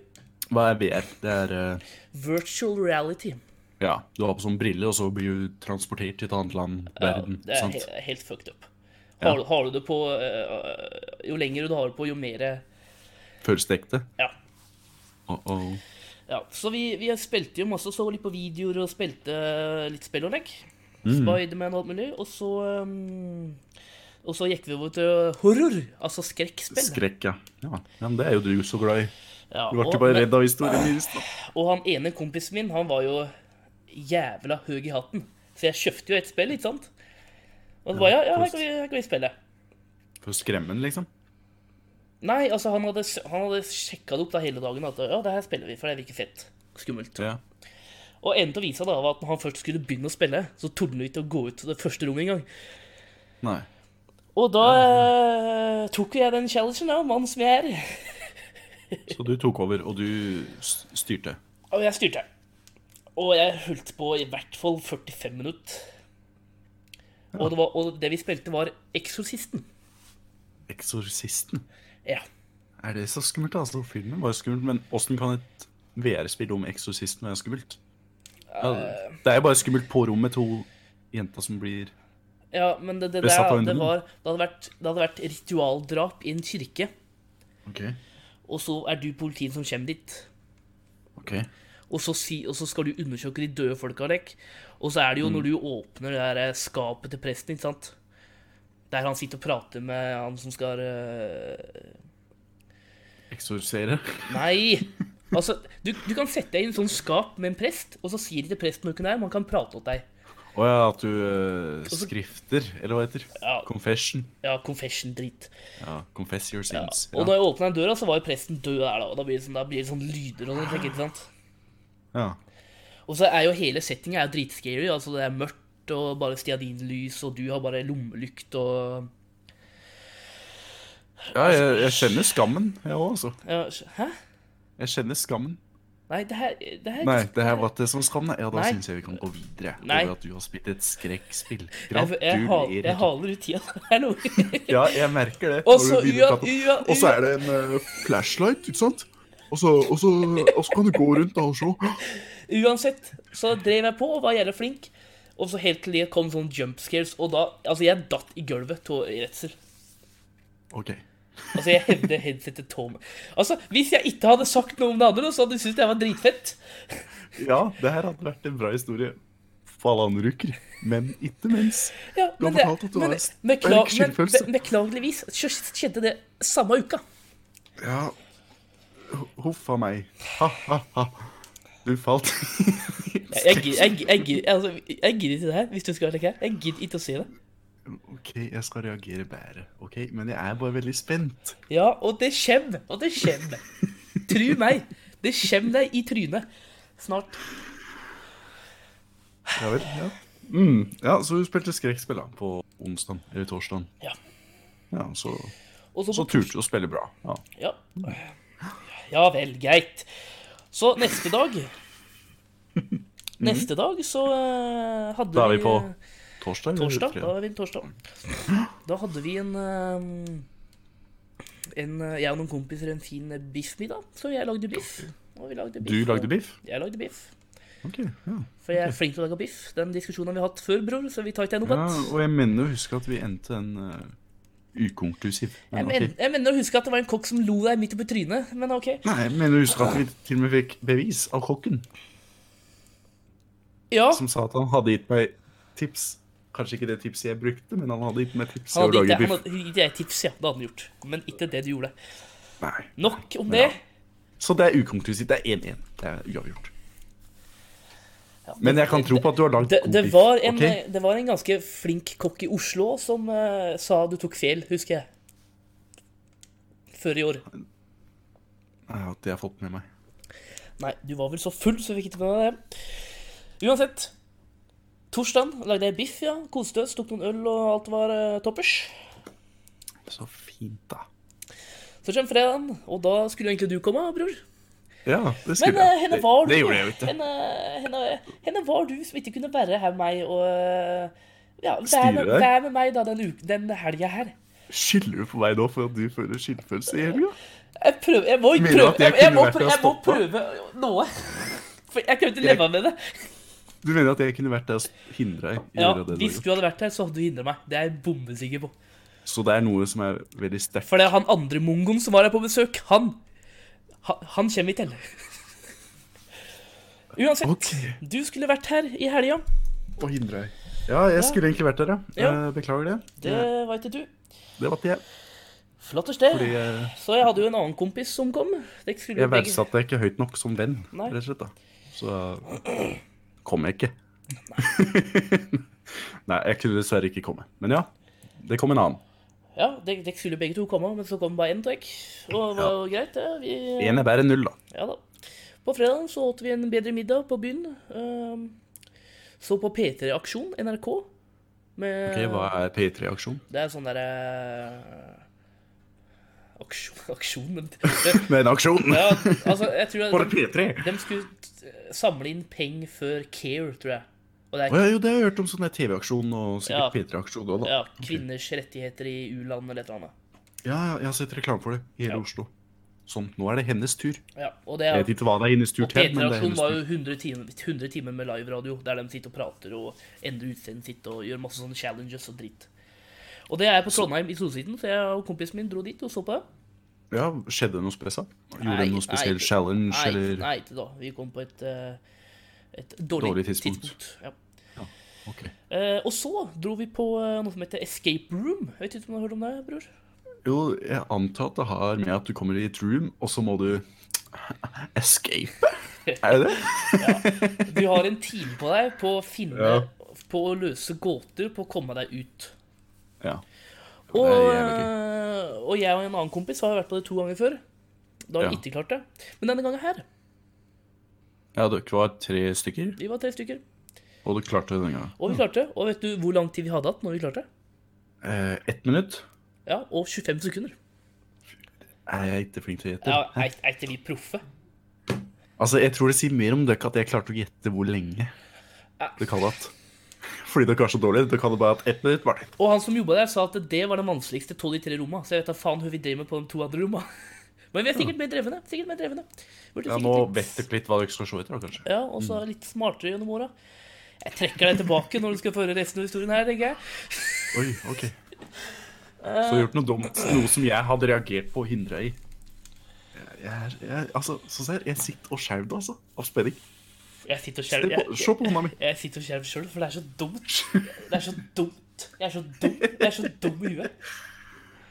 Speaker 1: Hva er VR? Det er eh,
Speaker 2: Virtual reality.
Speaker 1: Ja, du har på sånn brille, og så blir du transportert til et annet land, verden.
Speaker 2: det er
Speaker 1: sant?
Speaker 2: he- helt fucked up.
Speaker 1: Ja.
Speaker 2: Har, har du det på eh, Jo lenger du har det på, jo mer
Speaker 1: Føles det ekte?
Speaker 2: Ja.
Speaker 1: Uh-oh.
Speaker 2: ja. Så vi, vi spilte jo masse, så litt på videoer og spilte eh, litt spill og lek.
Speaker 1: Mm.
Speaker 2: Spiderman og alt mulig. Og så ehm, Og så gikk vi over til horror, altså skrekkspill.
Speaker 1: Skrekk, ja. ja. ja. Men det er jo du så glad i.
Speaker 2: Ja,
Speaker 1: Du ble
Speaker 2: og,
Speaker 1: jo bare
Speaker 2: men-
Speaker 1: redd av historien din.
Speaker 2: og han ene kompisen min, han var jo jævla høy i hatten. Så jeg kjøpte jo et spill, ikke sant? Og så bare ja, ja her, kan vi, her kan vi spille.
Speaker 1: [LAUGHS] For å skremme den, liksom.
Speaker 2: Nei, altså han hadde, han hadde sjekka det opp da hele dagen. At ja, det her spiller vi, for det virker fett. Skummelt.
Speaker 1: Ja.
Speaker 2: Og enden av visa da var at når han først skulle begynne å spille, så torde han ikke å gå ut til det første rommet engang.
Speaker 1: Nei.
Speaker 2: Og da eh, tok jeg den challengen, da, mann som jeg er.
Speaker 1: Så du tok over, og du s- styrte.
Speaker 2: Og jeg styrte. Og jeg holdt på i hvert fall 45 minutter. Og, det var, og det vi spilte, var Eksorsisten.
Speaker 1: Eksorsisten.
Speaker 2: Ja.
Speaker 1: Er det så skummelt? altså? Filmen var jo skummelt, men åssen kan et VR-spill om Eksorsisten være skummelt? Ja, det er jo bare skummelt på rommet to jenter som blir
Speaker 2: ja men det, det, det,
Speaker 1: Besatt av en
Speaker 2: det,
Speaker 1: demon.
Speaker 2: var, det, hadde vært, det hadde vært ritualdrap i en kirke,
Speaker 1: OK.
Speaker 2: og så er du politiet som kommer dit.
Speaker 1: ok.
Speaker 2: og så, si, og så skal du undersøke de døde folka dek. Og så
Speaker 1: Mm.
Speaker 2: er det jo når du åpner det der skapet til presten, ikke sant? Der han sitter og prater med han som skal øh,
Speaker 1: Eksorsere.
Speaker 2: Nei! Altså, du, du kan sette deg i en sånn skap med en prest, og så sier de til presten hvor hun er, men han kan prate åt deg.
Speaker 1: Å ja, at du eh, skrifter, eller hva det heter
Speaker 2: Ja.
Speaker 1: Confession.
Speaker 2: Ja, confession-drit.
Speaker 1: Ja, Confess your sins.
Speaker 2: Og
Speaker 1: Ja.
Speaker 2: når jeg åpna den døra, så var jo presten død der, da. Og da blir det sånn, da blir det sånn lyder og sånn, tenker jeg, ikke sant?
Speaker 1: Ja.
Speaker 2: Og så er jo hele settinga er jo dritscary. Altså det er mørkt og bare stearinlys, og du har bare lommelykt og
Speaker 1: ja, jeg, jeg kjenner skammen, jeg òg, altså.
Speaker 2: ja, Hæ?
Speaker 1: Jeg kjenner skammen.
Speaker 2: Nei, det her, det her
Speaker 1: Nei, det her var ikke som skam, nei. Ja, da
Speaker 2: Nei.
Speaker 1: syns jeg vi kan gå videre.
Speaker 2: Nei.
Speaker 1: Over at du har spilt et skrekkspill.
Speaker 2: Jeg, jeg, hal, jeg haler ut tida. [LAUGHS] Det er noe.
Speaker 1: Ja, jeg merker det.
Speaker 2: Og
Speaker 1: når du
Speaker 2: så
Speaker 1: begynner å
Speaker 2: ua-
Speaker 1: prate om-
Speaker 2: ua-
Speaker 1: Og så er det en eh, flashlight, ikke sant? Og så, og, så, og så kan du gå rundt da og se.
Speaker 2: Uansett, så drev jeg på og var jævlig flink. Og så helt til det kom sånn jump scares, og da Altså, jeg datt i gulvet av redsel.
Speaker 1: OK.
Speaker 2: Altså, jeg hevde headsetet tå meg. Altså, hvis jeg ikke hadde sagt noe om det andre, så hadde du syntes jeg var dritfett.
Speaker 1: Ja, det her hadde vært en bra historie. Bananrukker, men ikke mens.
Speaker 2: Ja,
Speaker 1: Du har
Speaker 2: men det,
Speaker 1: fortalt at du
Speaker 2: men,
Speaker 1: har
Speaker 2: det-
Speaker 1: en
Speaker 2: bekla
Speaker 1: sterk
Speaker 2: men
Speaker 1: skyldfølelse.
Speaker 2: be- beklageligvis så skjedde det samme uka.
Speaker 1: Ja. Huff a meg. Ha, ha, ha. Du falt.
Speaker 2: Jeg- Jeg gidder jeg, jeg, gidder- altså, jeg gidder ikke det her, hvis du skal være her. Jeg gidder ikke å se det.
Speaker 1: OK, jeg skal reagere bedre. Ok, Men jeg er bare veldig spent.
Speaker 2: Ja, og det kommer. Og det kommer. Tru meg. Det kommer deg i trynet. Snart.
Speaker 1: Ja vel. Ja. Mm, ja, så du spilte skrekkspill da, på onsdag eller torsdag.
Speaker 2: Ja.
Speaker 1: Ja, så,
Speaker 2: Og så,
Speaker 1: så
Speaker 2: på-
Speaker 1: turte du å spille bra. Ja.
Speaker 2: ja. ja vel, greit. Så neste dag Neste dag så eh, hadde
Speaker 1: Mhm. Da er vi på
Speaker 2: eh,
Speaker 1: torsdag? eller
Speaker 2: Torsdag, da
Speaker 1: fredag?
Speaker 2: er vi en torsdag. Da hadde vi en, eh, en eh, Jeg og noen kompiser en fin biffmiddag, så jeg lagde biff. Og vi lagde biff.
Speaker 1: Du lagde biff?
Speaker 2: og Jeg lagde biff.
Speaker 1: Ok, ja.
Speaker 2: For jeg er flink til å lage biff. Den diskusjonen har vi hatt før, bror, så vi tar ikke den opp
Speaker 1: ja.
Speaker 2: igjen.
Speaker 1: Og jeg mener å huske at vi endte en eh, ukonklusiv. Men
Speaker 2: Jeg,
Speaker 1: ok.
Speaker 2: men, jeg mener å huske at det var en kokk som lo deg midt oppi trynet, men OK.
Speaker 1: Nei, jeg mener å huske at vi til og med fikk bevis av kokken,
Speaker 2: Ja,
Speaker 1: som sa at han hadde gitt meg tips. Kanskje ikke det tipset jeg brukte, men han hadde gitt meg tips i
Speaker 2: han
Speaker 1: å
Speaker 2: hadde gitt
Speaker 1: lage
Speaker 2: deg- han
Speaker 1: biff.
Speaker 2: hadde gitt deg et tips, ja. Det hadde han gjort. Men ikke det du gjorde.
Speaker 1: Nei.
Speaker 2: Nok om
Speaker 1: Ja.
Speaker 2: det.
Speaker 1: Så det er ukonklusivt. Det er 1-1. Det er uavgjort. Men jeg kan tro på at du har lagd
Speaker 2: Det,
Speaker 1: god
Speaker 2: det,
Speaker 1: biff.
Speaker 2: var en, eh,
Speaker 1: ok?
Speaker 2: det var en ganske flink kokk i Oslo som eh, sa du tok feil, husker jeg. Før i år.
Speaker 1: Ja, det har jeg fått med meg.
Speaker 2: Nei, du var vel så full, så vi fikk ikke med deg det. Uansett. Torsdag lagde jeg biff, ja. Koste oss, tok noen øl, og alt var eh, toppers.
Speaker 1: Så fint, da.
Speaker 2: Så kom fredagen, og da skulle egentlig du komme, bror.
Speaker 1: Ja, det
Speaker 2: Men
Speaker 1: skulle
Speaker 2: eh,
Speaker 1: jeg.
Speaker 2: henne var du
Speaker 1: det, det gjorde jeg jo ikke.
Speaker 2: Henne, henne, henne var du som ikke kunne være her med meg og eh, ja, vær,
Speaker 1: Styre
Speaker 2: med,
Speaker 1: deg.
Speaker 2: vær med meg da den, uke- den helga her.
Speaker 1: Skylder du på meg nå for at du føler skyldfølelse i helga?
Speaker 2: Jeg prøver, jeg må ikke
Speaker 1: Mener du
Speaker 2: prøve,
Speaker 1: at jeg
Speaker 2: jeg, jeg,
Speaker 1: kunne
Speaker 2: må,
Speaker 1: vært der
Speaker 2: prøve,
Speaker 1: og
Speaker 2: jeg må
Speaker 1: stoppa?
Speaker 2: prøve noe. [LAUGHS] For jeg kan jo ikke leve med det.
Speaker 1: Du mener at jeg kunne vært der og hindra deg? i å
Speaker 2: Ja,
Speaker 1: gjøre det du har
Speaker 2: Hvis
Speaker 1: gjort?
Speaker 2: du hadde vært her, så hadde du hindret meg. Det er jeg bombesikker på.
Speaker 1: Så det er noe som er veldig sterkt.
Speaker 2: For det er han andre mongoen som var her på besøk. Han ha- Han kommer vi til. [LAUGHS] Uansett,
Speaker 1: Ok.
Speaker 2: du skulle vært her i helga.
Speaker 1: Å hindre deg. Ja, jeg skulle egentlig vært der, ja.
Speaker 2: Ja.
Speaker 1: Eh, Beklager det.
Speaker 2: Det
Speaker 1: Eh,
Speaker 2: var ikke du.
Speaker 1: det var ikke jeg.
Speaker 2: Flotters det.
Speaker 1: Fordi eh, jeg,
Speaker 2: Så jeg hadde jo en annen kompis som kom. Dere skulle
Speaker 1: jeg
Speaker 2: begge-
Speaker 1: verdsatte deg ikke høyt nok som venn,
Speaker 2: Nei.
Speaker 1: rett og slett. da. Så eh, kom
Speaker 2: [LAUGHS]
Speaker 1: jeg ikke. Nei, jeg kunne dessverre ikke komme. Men ja, det kom en annen.
Speaker 2: Ja, dere dere skulle begge to komme, men så kom bare én av dere. Og det var greit, det. Vi,
Speaker 1: Én er bedre enn null, da.
Speaker 2: Ja da. På fredagen så åt vi en bedre middag på byen. ehm, så på P3-aksjon, NRK. Med,
Speaker 1: Ok, Hva er P3-aksjon?
Speaker 2: Det er sånn derre Aksjon [LAUGHS] Aksjon men-
Speaker 1: Med en aksjon!
Speaker 2: Ja, altså, jeg tror
Speaker 1: For
Speaker 2: at de,
Speaker 1: P3!
Speaker 2: de skulle t- samle inn penger før Care, tror jeg. Og det
Speaker 1: Å
Speaker 2: er
Speaker 1: ja, jo, det har jeg hørt om sånn TV-aksjon og
Speaker 2: Ja.
Speaker 1: sikkert P3-aksjon òg, da.
Speaker 2: ja, kvinners rettigheter i u-land eller et eller annet.
Speaker 1: Ja, ja, jeg har sett reklame for det i hele
Speaker 2: Ja.
Speaker 1: Oslo. Sånn, nå er det hennes tur.
Speaker 2: Ja, og det
Speaker 1: Jeg
Speaker 2: er
Speaker 1: vet ikke hva det er hennes tur
Speaker 2: Og
Speaker 1: til, men det er
Speaker 2: P3-aksjonen
Speaker 1: hennes
Speaker 2: var jo
Speaker 1: tur.
Speaker 2: 100 timer, 100 timer med liveradio, der de sitter og prater og endrer utseendet sitt og gjør masse sånne challenges og dritt. Og det er på Trondheim i Solsiden, så jeg og kompisen min dro dit og så på det.
Speaker 1: Ja, skjedde det noe spesielt? Gjorde
Speaker 2: Nei,
Speaker 1: de noe spesiell
Speaker 2: nei,
Speaker 1: challenge,
Speaker 2: Nei,
Speaker 1: eller
Speaker 2: nei, ikke da. Vi kom på et, eh, et dårlig,
Speaker 1: Dårlig tidspunkt.
Speaker 2: tidspunkt. Ja.
Speaker 1: Ok.
Speaker 2: Eh, og så dro vi på eh, noe som heter Escape Room. Jeg vet ikke om du har hørt om det, bror?
Speaker 1: Jo, jeg antar at det har med at du kommer i et room, og så må du escape? Er det det?
Speaker 2: Du har en time på deg på å finne
Speaker 1: Ja.
Speaker 2: På å løse gåter, på å komme deg ut.
Speaker 1: [LAUGHS] Ja.
Speaker 2: Og, eh,
Speaker 1: Det er jævlig
Speaker 2: og jeg og en annen kompis har vært på det to ganger før. Da har vi
Speaker 1: Ja.
Speaker 2: ikke klart det. Men denne gangen her,
Speaker 1: ja, dere var tre stykker,
Speaker 2: vi var tre stykker,
Speaker 1: og du klarte det denne gangen.
Speaker 2: og vi klarte det. Og vet du hvor lang tid vi hadde hatt når vi klarte det?
Speaker 1: Eh, ett minutt?
Speaker 2: Ja, og 25 sekunder.
Speaker 1: Er jeg ikke flink til å gjette?
Speaker 2: Ja, er er ikke vi proffe?
Speaker 1: Altså, jeg tror det sier mer om dere at jeg klarte å gjette hvor lenge dere hadde hatt. Fordi dere var så dårlige. Dere hadde bare hatt ett minutt. Var det.
Speaker 2: Og han som jobba der, sa at det var det vanskeligste av de tre romma. Så jeg vet da faen hva vi driver med på de to andre romma. [LAUGHS] Men vi er sikkert mer drevne. Sikkert mer drevne. Burde
Speaker 1: Ja,
Speaker 2: sikkert
Speaker 1: nå
Speaker 2: litt-
Speaker 1: vet dere litt hva dere skal se etter, da, kanskje.
Speaker 2: Ja, og så er vi litt smartere gjennom åra. Jeg trekker deg tilbake når du skal få høre resten av historien her, tenker jeg.
Speaker 1: Oi, ok. Så du har gjort noe dumt. Noe som jeg hadde reagert på og hindra i. Jeg, jeg, er- jeg, altså, sånn ser jeg, jeg sitter og skjelver, altså. Av spenning.
Speaker 2: Jeg sitter og
Speaker 1: Se
Speaker 2: skjelver.
Speaker 1: på, se
Speaker 2: Jeg,
Speaker 1: på hånda mi.
Speaker 2: jeg sitter og skjelver sjøl, for det er så dumt. Det er så dumt. Jeg er så dum. Jeg er så dum i huet.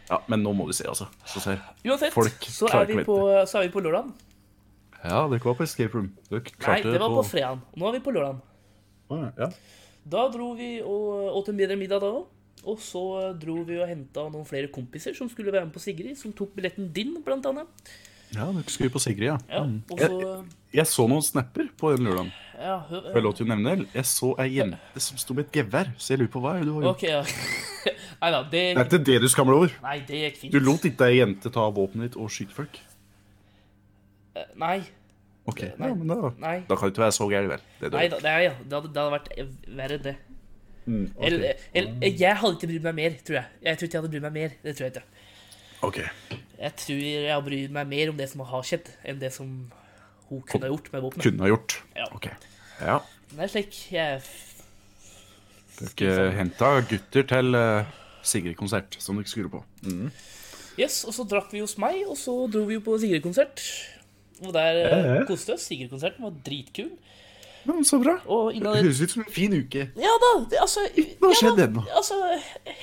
Speaker 1: Ja, men nå må du se, altså. Så ser.
Speaker 2: Uansett,
Speaker 1: Folk
Speaker 2: så
Speaker 1: klarer
Speaker 2: er vi
Speaker 1: ikke å
Speaker 2: på, så er vi på lørdagen.
Speaker 1: Ja, dere var på escape room. Dere
Speaker 2: Nei,
Speaker 1: klarte
Speaker 2: det var på fredagen. Nå er vi på lørdagen.
Speaker 1: Å, ja.
Speaker 2: Da dro vi og åt en bedre middag da òg. Og så dro vi og henta noen flere kompiser som skulle være med på Sigrid, som tok billetten din, blant annet.
Speaker 1: ja, dere skulle på Sigrid, ja.
Speaker 2: Ja,
Speaker 1: Mm.
Speaker 2: og
Speaker 1: Jeg,
Speaker 2: så
Speaker 1: jeg så noen snapper på den lørdagen.
Speaker 2: ja, hø-
Speaker 1: Jeg lov til å nevne det. Jeg så ei jente som sto med et gevær, så jeg lurer på hva er det du har gjort.
Speaker 2: OK, ja. [LAUGHS] Nei da, det
Speaker 1: Det er ikke det du skammer deg over.
Speaker 2: Nei, det gikk fint.
Speaker 1: Du lot ikke ei jente ta våpenet ditt og skyte folk.
Speaker 2: Eh, Nei.
Speaker 1: Ok,
Speaker 2: Nei.
Speaker 1: ja, men da,
Speaker 2: Nei.
Speaker 1: da kan det ikke være så gærent, vel. Det er
Speaker 2: Nei,
Speaker 1: dårlig.
Speaker 2: da, nei ja. det, hadde, det hadde vært verre, enn det.
Speaker 1: Mm, ok.
Speaker 2: Eller, eller jeg hadde ikke brydd meg mer, tror jeg. Jeg tror ikke jeg hadde brydd meg mer. Det tror jeg ikke.
Speaker 1: Ok.
Speaker 2: Jeg tror jeg har brydd meg mer om det som har skjedd, enn det som hun kunne ha gjort med våpenet.
Speaker 1: Kunne ha gjort.
Speaker 2: Ja.
Speaker 1: Ok. Ja.
Speaker 2: Det er slik jeg sånn.
Speaker 1: Dere henta gutter til eh, Sigrid-konsert, som dere skulle på.
Speaker 2: Yes, og så drakk vi hos meg, og så dro vi jo på Sigrid-konsert. Og der eh, koste vi oss. Sigrid-konserten var dritkul.
Speaker 1: Ja, så bra.
Speaker 2: Og
Speaker 1: Det
Speaker 2: innan
Speaker 1: høres ut som en fin uke.
Speaker 2: Ja da, det, altså
Speaker 1: Hva
Speaker 2: ja
Speaker 1: skjedde
Speaker 2: da,
Speaker 1: ennå?
Speaker 2: Altså,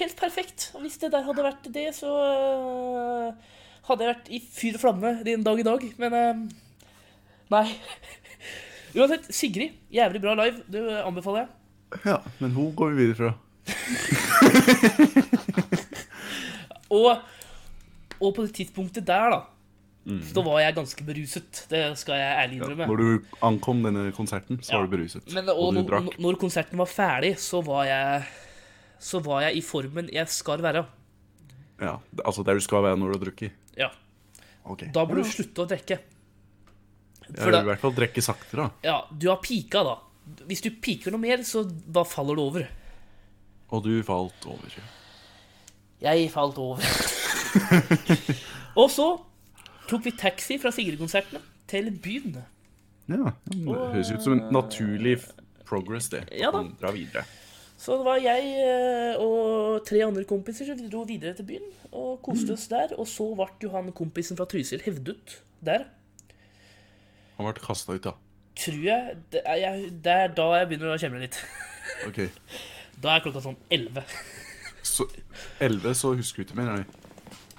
Speaker 2: helt perfekt. Og Hvis det der hadde vært det, så eh, hadde jeg vært i fyr og flamme din dag i dag, men eh, Nei. [LAUGHS] Uansett, Sigrid, jævlig bra live. Det anbefaler jeg.
Speaker 1: Ja, men hun går vi videre fra.
Speaker 2: Og, og på det tidspunktet der, da, så var jeg ganske beruset. Det skal jeg ærlig innrømme.
Speaker 1: Mm. Når du ankom denne konserten, så var du beruset.
Speaker 2: Men, og
Speaker 1: og du
Speaker 2: når-
Speaker 1: drakk.
Speaker 2: når konserten var ferdig, så var jeg Så var jeg i formen jeg skal være.
Speaker 1: Ja, det- altså der du skal være når du har drukket.
Speaker 2: Ja.
Speaker 1: Ok.
Speaker 2: Da burde du slutte å drikke.
Speaker 1: Ja,
Speaker 2: For
Speaker 1: I
Speaker 2: da,
Speaker 1: hvert fall drikke saktere. da.
Speaker 2: ja, du har pika, da. Hvis du piker noe mer, så da faller det over.
Speaker 1: Og du falt over.
Speaker 2: Jeg falt over. [LAUGHS] og så tok vi taxi fra Sigrid-konsertene til byen.
Speaker 1: Ja, men det høres ut som en naturlig f- progress, det.
Speaker 2: Ja da.
Speaker 1: Dra videre.
Speaker 2: Så det var jeg eh, og tre andre kompiser som dro videre til byen og koste oss der. Og så ble jo han kompisen fra Trysil hevdet der.
Speaker 1: Han ble kasta ut, da.
Speaker 2: Tror jeg det, er, jeg det er da jeg begynner å kjemle litt.
Speaker 1: Ok.
Speaker 2: Da er klokka sånn 11.
Speaker 1: Så 11, så husker du ikke mer? Nei.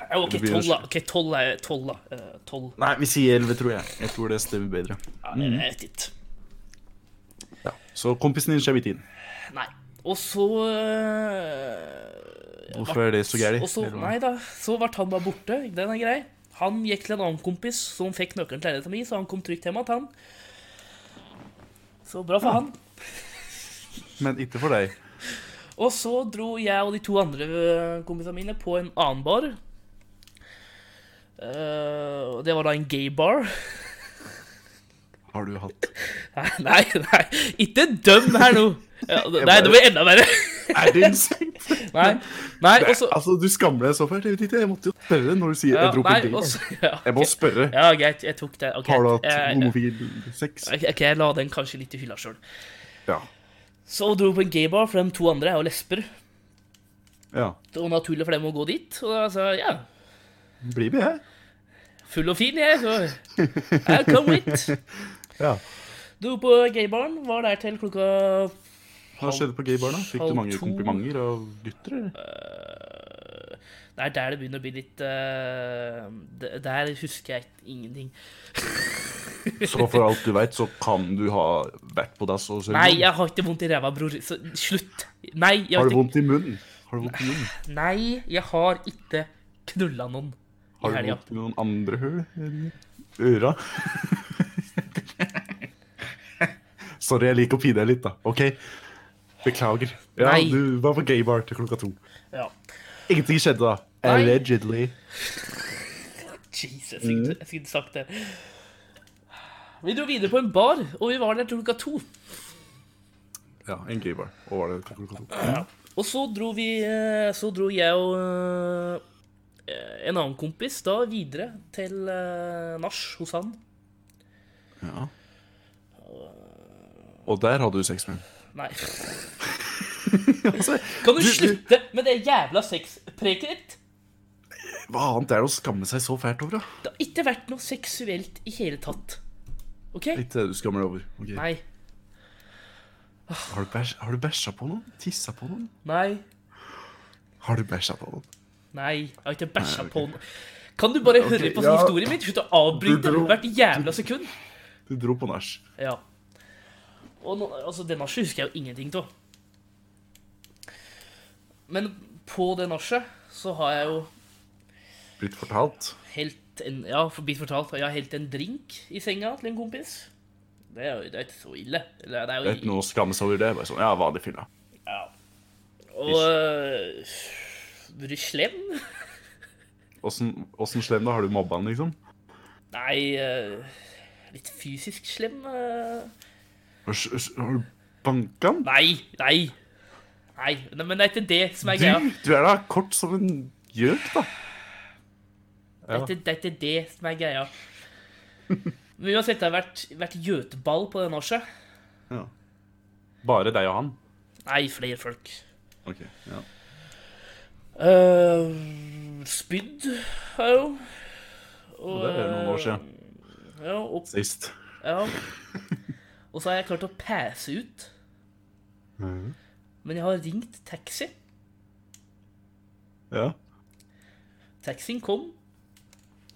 Speaker 2: Ja, OK,
Speaker 1: Det blir
Speaker 2: 12, da.
Speaker 1: jo-
Speaker 2: ok, 12 er 12, da. Eh, 12.
Speaker 1: Nei, vi sier 11, tror jeg. Jeg tror det stemmer bedre.
Speaker 2: Ja, jeg vet ikke.
Speaker 1: Ja. Så kompisen din skjev ikke inn.
Speaker 2: Nei. Og så eh,
Speaker 1: Hvorfor er det så gærent?
Speaker 2: Og så, nei da, så ble han bare borte. Den er grei. Han gikk til en annen kompis som fikk nøkkelen til leiligheten min, så han kom trygt hjem igjen. Så bra for han.
Speaker 1: Men ikke for deg.
Speaker 2: Og så dro jeg og de to andre øh, kompisene mine på en annen bar. Eh, og det var da en gaybar.
Speaker 1: Har du hatt
Speaker 2: [LAUGHS] Nei, nei, nei, ikke døm her nå! Ja, nei, det blir enda verre.
Speaker 1: [LAUGHS]
Speaker 2: [LAUGHS]
Speaker 1: Er det insekt?
Speaker 2: Nei, nei, og så
Speaker 1: Altså, du skammer deg så fælt. Jeg vet ikke, jeg måtte jo spørre når du sier
Speaker 2: ja,
Speaker 1: jeg dro på
Speaker 2: nei,
Speaker 1: date.
Speaker 2: og så- ja,
Speaker 1: Jeg må spørre.
Speaker 2: ja, greit, jeg tok det. ok,
Speaker 1: Har du hatt
Speaker 2: jeg-
Speaker 1: homofil sex?
Speaker 2: Ok, ok, jeg la den kanskje litt i hylla sjøl.
Speaker 1: Ja.
Speaker 2: Så dro vi på en gaybar, for de to andre er jo lesber.
Speaker 1: ja.
Speaker 2: Det var naturlig for dem å gå dit. Og da sa jeg ja,
Speaker 1: Blir vi her?
Speaker 2: full og fin, jeg, så jeg kom hit.
Speaker 1: [LAUGHS] Ja.
Speaker 2: Dro på gaybaren, var der til klokka
Speaker 1: Hva skjedde på gaybarna? Fikk
Speaker 2: halv
Speaker 1: du mange
Speaker 2: to.
Speaker 1: komplimenter av gutter? eller?
Speaker 2: eh, Det er der det begynner å bli litt eh, d- Der husker jeg ikke- ingenting.
Speaker 1: Så for alt du veit, så kan du ha vært på dass og
Speaker 2: Nei, jeg har ikke vondt i ræva, bror. Så, slutt. Nei, jeg
Speaker 1: Har
Speaker 2: har
Speaker 1: du
Speaker 2: ikke,
Speaker 1: vondt i munnen? Har du vondt i munnen?
Speaker 2: nei, jeg har ikke knulla noen i
Speaker 1: Har du
Speaker 2: helga.
Speaker 1: vondt i noen andre hull enn øra? [LAUGHS] Sorry, jeg liker å pine deg litt, da. OK? Beklager. Ja,
Speaker 2: Nei.
Speaker 1: du var på gaybar til klokka to.
Speaker 2: Ja.
Speaker 1: Ingenting skjedde da.
Speaker 2: Nei.
Speaker 1: Allegedly.
Speaker 2: Jesus, jeg skulle
Speaker 1: Mm.
Speaker 2: ikke- jeg skulle ikke sagt det. Vi dro videre på en bar, og vi var der til klokka to.
Speaker 1: Ja, en gaybar. Og var det til klokka to?
Speaker 2: Og så dro vi eh, Så dro jeg og eh, en annen kompis da videre til eh, nach hos han.
Speaker 1: Ja. Og der hadde du sex med henne.
Speaker 2: Nei. [LAUGHS]
Speaker 1: Altså,
Speaker 2: Kan du,
Speaker 1: du-
Speaker 2: slutte med det jævla sexpreket ditt?
Speaker 1: Hva annet er det å skamme seg så fælt over, da?
Speaker 2: Det har ikke vært noe seksuelt i hele tatt. OK?
Speaker 1: Litt eh, du skammer deg over. ok.
Speaker 2: Nei.
Speaker 1: Har du, bæsj, har du bæsja på noen? Tissa på noen?
Speaker 2: Nei.
Speaker 1: Har du bæsja på noen?
Speaker 2: Nei. Jeg har ikke bæsja på noe. Kan du bare høre på
Speaker 1: ja.
Speaker 2: historien min? Slutt å avbryte
Speaker 1: Du dro-
Speaker 2: hvert jævla sekund.
Speaker 1: Du dro på nach.
Speaker 2: Ja. Og nå, altså, det nachet husker jeg jo ingenting av. Men på det nachet så har jeg jo
Speaker 1: Blitt fortalt.
Speaker 2: helt en Ja, blitt fortalt jeg har helt en drink i senga til en kompis. Det er jo det er ikke så ille. Eller, det er jo
Speaker 1: Det er ikke noe å skamme seg over det. Bare sånn, ja, vanlig fylla.
Speaker 2: Og øh, Blir du slem?
Speaker 1: Åssen åssen slem da? Har du mobba han, liksom?
Speaker 2: Nei øh, Litt fysisk slem? øh.
Speaker 1: Har s- s- har du banka han?
Speaker 2: Nei, nei. Nei, nei, men det er ikke det som er greia.
Speaker 1: Du, du er da kort som en gjøk, da.
Speaker 2: Det er ikke- det er ikke det som er
Speaker 1: [LAUGHS]
Speaker 2: greia. Men uansett, det har vært, vært gjøteball på det nachet.
Speaker 1: Ja. Bare deg og han?
Speaker 2: Nei, flere folk.
Speaker 1: Ok, ja.
Speaker 2: Eh, spydd har jeg jo. Og,
Speaker 1: Det er noen år siden.
Speaker 2: eh, Ja, og,
Speaker 1: Sist.
Speaker 2: ja. og så har jeg klart å passe ut.
Speaker 1: Mhm.
Speaker 2: Men jeg har ringt taxi.
Speaker 1: Ja.
Speaker 2: Taxien kom.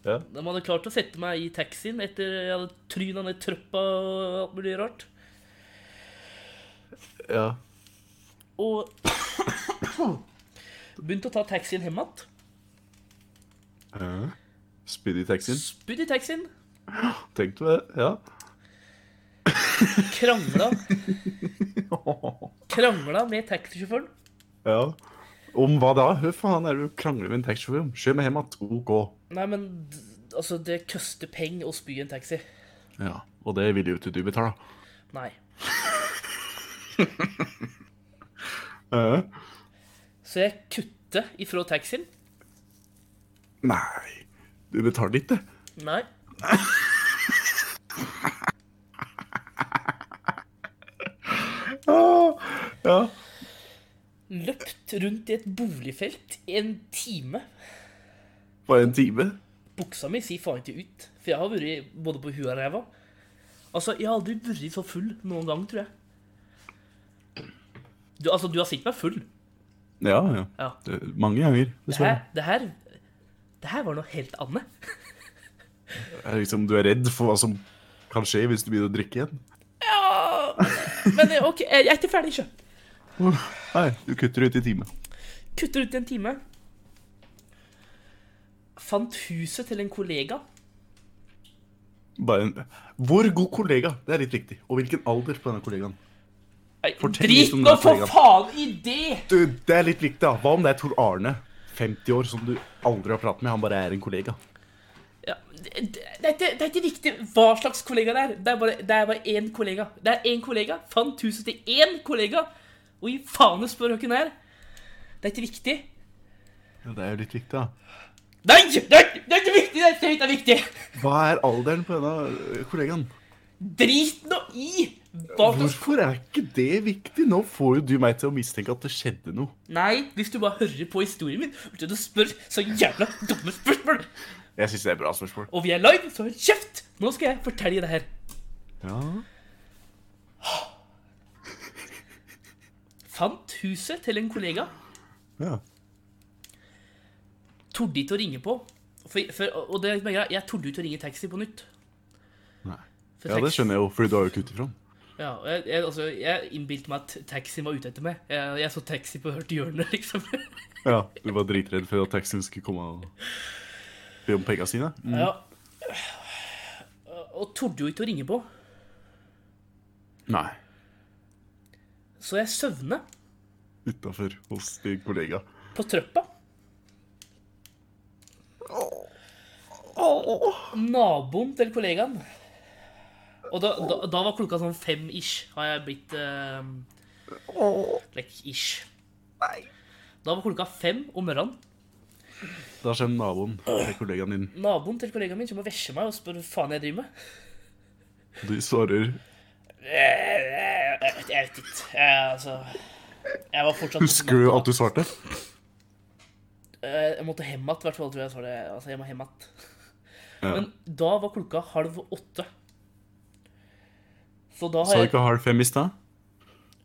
Speaker 1: Ja.
Speaker 2: De hadde klart å sette meg i taxien etter jeg hadde tryna ned trappa og alt mulig rart.
Speaker 1: ja.
Speaker 2: Og begynte å ta taxien hjem igjen.
Speaker 1: Spydd i taxien.
Speaker 2: Spydd i taxien,
Speaker 1: Tenkte du det? Ja.
Speaker 2: krangla Krangla med taxisjåføren.
Speaker 1: ja. Om hva da? Hør faen, er du krangler med en taxisjåfør om? Kjør meg hjem att. OK.
Speaker 2: Nei, men d- altså, det koster penger å spy i en taxi.
Speaker 1: Ja. Og det vil jo ikke du betale.
Speaker 2: Nei.
Speaker 1: Ja.
Speaker 2: Så jeg kutter ifra taxien.
Speaker 1: Nei. Du betaler ikke.
Speaker 2: Nei.
Speaker 1: Ah. Ja.
Speaker 2: Løpt rundt i et boligfelt i en time.
Speaker 1: Bare en time.
Speaker 2: Buksa mi sier faen ikke ut, for jeg har vært både på huet og ræva. Altså, jeg har aldri vært så full noen gang, tror jeg. Du, altså, du har sett meg full.
Speaker 1: Ja, ja.
Speaker 2: Ja.
Speaker 1: Det, mange ganger,
Speaker 2: Det her,
Speaker 1: dessverre.
Speaker 2: det her, det her var noe helt annet. [LAUGHS]
Speaker 1: Det er Liksom, du er redd for hva som kan skje hvis du begynner å drikke igjen.
Speaker 2: Men eh, ok, jeg er ikke ferdig, sjø.
Speaker 1: Nei, du kutter ut i time.
Speaker 2: Kutter ut i en time. Fant huset til en kollega.
Speaker 1: Bare en... Hvor god kollega? Det er litt riktig. Og hvilken alder på denne kollegaen?
Speaker 2: Nei,
Speaker 1: Fortell litt
Speaker 2: Drit
Speaker 1: om
Speaker 2: nå
Speaker 1: den
Speaker 2: for
Speaker 1: kollegaen.
Speaker 2: faen i det!
Speaker 1: Du, det er litt viktig, da. Hva om det er Tor Arne, 50 år, som du aldri har pratet med? Han bare er en kollega.
Speaker 2: Ja, det, det, det, er ikke, det er ikke viktig hva slags kollega det er. Det er bare, det er bare én kollega. Det er én kollega. Fant huset til én kollega! Og i faen spør hvem det er. Det er ikke viktig.
Speaker 1: Ja, det er jo litt viktig, da.
Speaker 2: Nei! Det er, det er ikke viktig! Det er ikke det er viktig!
Speaker 1: Hva er alderen på denne ø, kollegaen?
Speaker 2: Drit nå i hva slags
Speaker 1: Hvorfor er ikke det viktig? Nå får jo du meg til å mistenke at det skjedde noe.
Speaker 2: Nei, hvis du bare hører på historien min uten å spørre så jævla dumme spørsmål,
Speaker 1: Jeg syns det er et bra spørsmål.
Speaker 2: og vi er live, så hold kjeft! Nå skal jeg fortelle deg det her.
Speaker 1: Ja.
Speaker 2: Fant huset til en kollega.
Speaker 1: ja.
Speaker 2: torde ikke å ringe på. For, for, og det er greia, jeg torde ikke å ringe taxi på nytt.
Speaker 1: Nei.
Speaker 2: For
Speaker 1: Ja, det
Speaker 2: taxi-
Speaker 1: skjønner jeg jo, fordi du har jo kuttet fra den.
Speaker 2: Ja, og jeg, jeg, altså, jeg innbilte meg at taxien var ute etter meg. Jeg, jeg så taxi på hvert hjørne, [LAUGHS] liksom.
Speaker 1: Ja, du var dritredd for at taxien skulle komme og be om penga sine. Mm.
Speaker 2: Ja. Og torde jo ikke å ringe på.
Speaker 1: Nei.
Speaker 2: Så jeg søvna
Speaker 1: Utafor hos din kollega.
Speaker 2: på trappa. Naboen til kollegaen. Og da, da, da var klokka sånn fem ish, har jeg blitt eh, Like ish. Da var klokka fem om morgenen.
Speaker 1: Da kommer naboen til kollegaen din.
Speaker 2: Naboen til kollegaen min kommer og vesjer meg og spør hva faen jeg driver med.
Speaker 1: Du svarer
Speaker 2: Jeg vet, jeg vet ikke. Jeg, altså Jeg var fortsatt
Speaker 1: Husker du at du svarte?
Speaker 2: Eh, Jeg måtte hjem igjen, i hvert fall. Tror jeg, jeg det. Altså, jeg må hjem igjen.
Speaker 1: Ja.
Speaker 2: Men da var klokka halv åtte. Så da
Speaker 1: Sa
Speaker 2: har
Speaker 1: du
Speaker 2: jeg
Speaker 1: ikke halv fem i stad?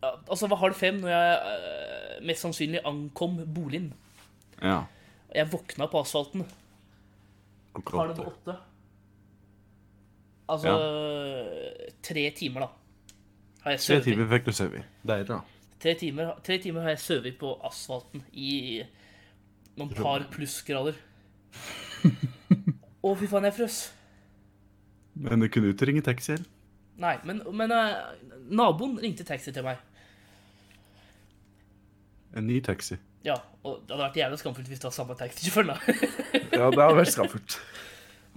Speaker 2: ja, altså var halv fem når jeg eh, mest sannsynlig ankom boligen.
Speaker 1: Ja.
Speaker 2: Jeg våkna på asfalten
Speaker 1: Klokka
Speaker 2: halv
Speaker 1: åtte.
Speaker 2: åtte. Altså tre timer, da. Har jeg
Speaker 1: Tre
Speaker 2: sovet.
Speaker 1: timer fikk du sove. Deilig, da.
Speaker 2: Tre timer, tre timer har jeg sovet på asfalten i noen par plussgrader. Å, fy faen, jeg frøs.
Speaker 1: Men du kunne ut og ringe taxi eller?
Speaker 2: Nei, men, men eh, naboen ringte taxi til meg.
Speaker 1: En ny taxi.
Speaker 2: Ja, og det hadde vært jævlig skamfullt hvis det var samme taxisjåfør, da. [LAUGHS]
Speaker 1: Ja, det hadde vært skaffert.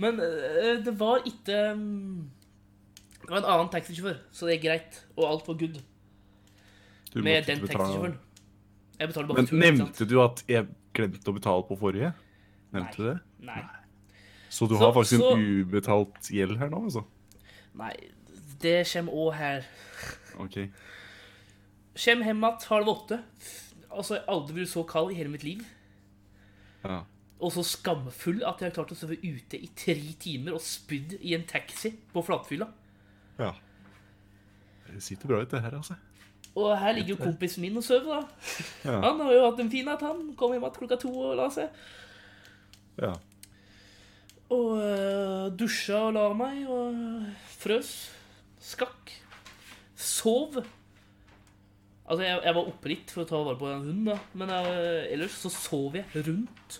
Speaker 2: Men eh, det var ikke mm, Det var en annen taxisjåfør, så det er greit. Og alt var good
Speaker 1: Du
Speaker 2: med
Speaker 1: måtte
Speaker 2: den
Speaker 1: betale-
Speaker 2: taxisjåføren. Jeg betaler bare
Speaker 1: Men
Speaker 2: turen, ikke sant?
Speaker 1: nevnte du at jeg glemte å betale på forrige? Nevnte du det?
Speaker 2: Nei.
Speaker 1: Så du
Speaker 2: Så-
Speaker 1: har faktisk
Speaker 2: så-
Speaker 1: en ubetalt gjeld her nå, altså?
Speaker 2: Nei, det kommer òg her.
Speaker 1: Ok.
Speaker 2: Kjem hjem igjen halv åtte. Altså, jeg har aldri vært så kald i hele mitt liv.
Speaker 1: Ja.
Speaker 2: Og så skamfull at jeg har klart å sove ute i tre timer og spydd i en taxi på flatfylla.
Speaker 1: ja. Det sitter bra ut, det her, altså.
Speaker 2: Og her ligger jo kompisen min og sover, da.
Speaker 1: Ja.
Speaker 2: Han har jo hatt en fin natt, han. Kom hjem igjen klokka to og la seg.
Speaker 1: ja.
Speaker 2: Og øh, dusja og la meg, og eh, frøs. Skakk. Sov. Altså, jeg, jeg var oppe litt for å ta vare på den hunden, da. Men øh, ellers så sov jeg rundt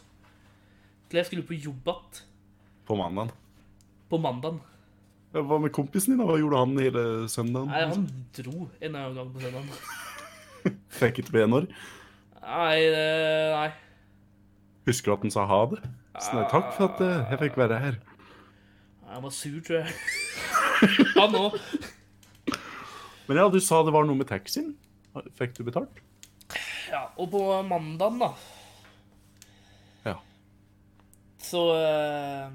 Speaker 2: til jeg skulle på jobb igjen
Speaker 1: På mandagen.
Speaker 2: på mandagen.
Speaker 1: Ja, Hva med kompisen din? da? Hva gjorde han hele søndagen?
Speaker 2: Nei, han dro en eller annen gang på søndagen.
Speaker 1: Fikk ikke benår?
Speaker 2: Nei, det- nei.
Speaker 1: Husker du at han sa ha det? Så nei, takk for at eh, jeg fikk være her.
Speaker 2: Han var sur, tror jeg. [LAUGHS] Han òg.
Speaker 1: Men ja, du sa det var noe med taxien. Fikk du betalt?
Speaker 2: Ja, og på mandagen, da,
Speaker 1: Ja.
Speaker 2: så eh,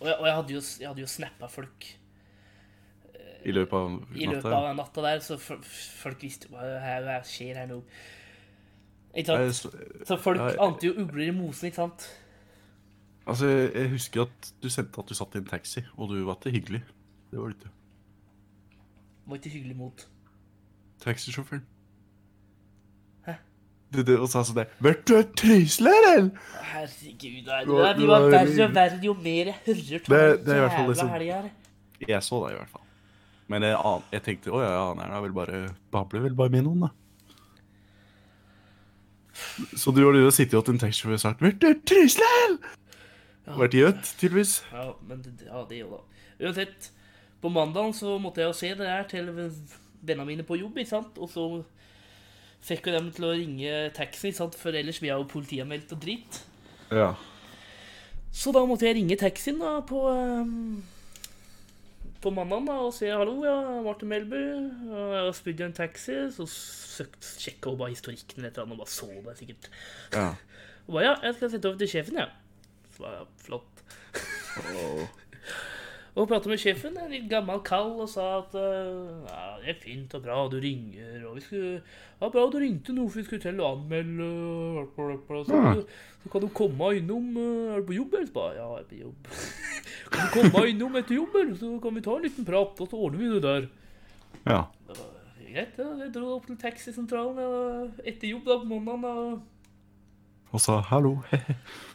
Speaker 2: Og jeg, og jeg hadde jo, jeg hadde jo snappa folk
Speaker 1: I løpet av
Speaker 2: i løpet
Speaker 1: natta?
Speaker 2: av natta der, så fol- folk visste jo hva her, hva skjer her nå. Ikke
Speaker 1: Jeg,
Speaker 2: sant?
Speaker 1: s-
Speaker 2: Så folk
Speaker 1: jeg-
Speaker 2: ante jo ugler i mosen, ikke sant?
Speaker 1: altså, jeg husker at du sendte at du satt i en taxi, og du var ikke hyggelig. Det var du ikke.
Speaker 2: Var ikke hyggelig mot.
Speaker 1: Taxisjåføren.
Speaker 2: Hæ?
Speaker 1: Du, du, og sa sånn der Vet du et trysler, eller?
Speaker 2: Herregud, det, er-
Speaker 1: Du var-
Speaker 2: de
Speaker 1: du
Speaker 2: var
Speaker 1: var
Speaker 2: verre
Speaker 1: hyggelig.
Speaker 2: og verre jo mer jeg hører til
Speaker 1: Det- det
Speaker 2: den
Speaker 1: er i hvert fall
Speaker 2: jævla
Speaker 1: liksom-
Speaker 2: helga her.
Speaker 1: Jeg så deg i hvert fall. Men jeg, an jeg tenkte å ja, ja, han er da vel bare babler vel bare med noen, da. Så du har du sittet hos en taxisjåfør og sagt 'Vært et trysler?' Vært gjøt, tydeligvis.
Speaker 2: Ja, men det, ja, det jo da. Uansett, på mandagen så måtte jeg jo se det der til vennene mine på jobb, ikke sant? Og så fikk jo dem til å ringe taxi, ikke sant? For ellers blir jeg jo politianmeldt og dritt.
Speaker 1: Ja.
Speaker 2: Så da måtte jeg ringe taxien da på, ehm, på mandagen da, og si hallo, ja, Martin Melby. Ja, Jeg har spydd i en taxi, så søkt, sjekket hun bare historikken eller et eller annet, og bare så det sikkert.
Speaker 1: ja.
Speaker 2: Og bare, ja, jeg skal sette over til sjefen, ja. Så bare, ja, flott. Og pratet med sjefen, en litt gammel kall, og sa at eh, ja, det er fint og bra, du ringer, og vi skulle, ja, bra, du ringte nå, for vi skulle til å anmelde, og hva, hva, hva, hva,
Speaker 1: Ja.
Speaker 2: så, så kan du komme innom, eh, er du på jobb, eller? Så bare, ja, jeg er på jobb. [LAUGHS] Kan du komme innom etter jobb, eller? Så kan vi ta en liten prat, og så ordner vi det der.
Speaker 1: ja.
Speaker 2: Greit, ja, jeg dro opp til taxisentralen ja, etter jobb da, på måneden, da.
Speaker 1: Og sa 'hallo'.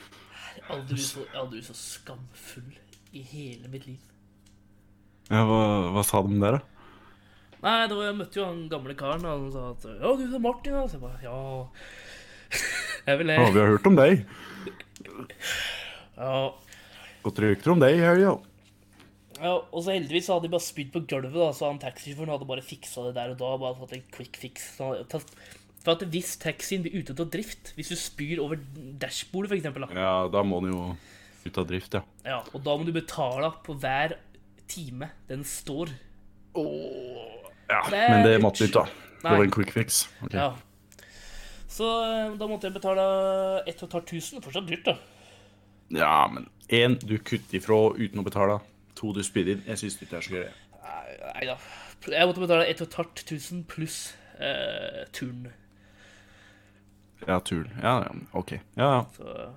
Speaker 1: [LAUGHS]
Speaker 2: Aldri så, aldri så skamfull i hele mitt liv.
Speaker 1: Ja, hva, hva sa de der, da?
Speaker 2: Nei, det var, jeg møtte jo han gamle karen, og han sa at Ja, du er Martin, da. Så jeg bare Ja. [LAUGHS] Jeg vil
Speaker 1: Ja,
Speaker 2: det.
Speaker 1: vi har hørt om deg.
Speaker 2: Ja.
Speaker 1: Gått rykter om deg i helga.
Speaker 2: ja. Og så heldigvis så hadde de bare spydd på gulvet, da, så han taxisjåføren hadde bare fiksa det der og da. Bare fått en quick fix. Så han hadde tatt- For at hvis taxien blir ute av drift, hvis du spyr over dashbordet, for eksempel, da,
Speaker 1: Ja, da må han jo ut av drift, ja.
Speaker 2: ja, og da må du betale på hver time den står.
Speaker 1: ja.
Speaker 2: Det er
Speaker 1: Men det
Speaker 2: litt-
Speaker 1: måtte du ikke, da. Det
Speaker 2: Nei.
Speaker 1: var en quick fix. Ok.
Speaker 2: Ja. Så eh, da måtte jeg betale 1500. Fortsatt dyrt, da.
Speaker 1: Ja, men én du kutter ifra uten å betale. To du spyr inn. Jeg syns ikke det er så gøy.
Speaker 2: Nei da. Jeg måtte betale 1500 pluss eh, turen.
Speaker 1: Ja, turen. Ja, ja, OK. Ja, ja.
Speaker 2: Så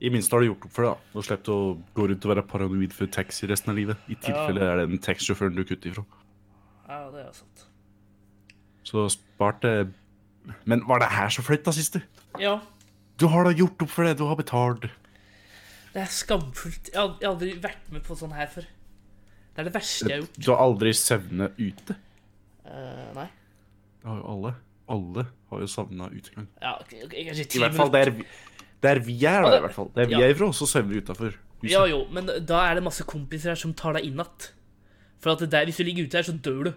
Speaker 1: I minste har du gjort opp for det, da. Nå slipper du å gå rundt og være paranoid for taxi resten av livet. I tilfelle er det den taxisjåføren du kutter ifra.
Speaker 2: ja, det er sant.
Speaker 1: Så sparte Men var det her så flaut, da, siste?
Speaker 2: Ja.
Speaker 1: Du har da gjort opp for det du har betalt.
Speaker 2: Det er skamfullt. Jeg har jeg har aldri vært med på sånn her før. Det er det verste jeg har gjort.
Speaker 1: Du har aldri søvnet ute.
Speaker 2: Eh, nei.
Speaker 1: Det har jo alle. Alle har jo savna utegang.
Speaker 2: Ja, ok, ok, kanskje ti
Speaker 1: I hvert fall
Speaker 2: minutter.
Speaker 1: der vi, der vi er, da. i hvert fall. Der vi
Speaker 2: Ja.
Speaker 1: er ifra, så søvner vi utafor.
Speaker 2: Ja jo, men da er det masse kompiser her som tar deg inn att. For at det der, hvis du ligger ute her, så dør du.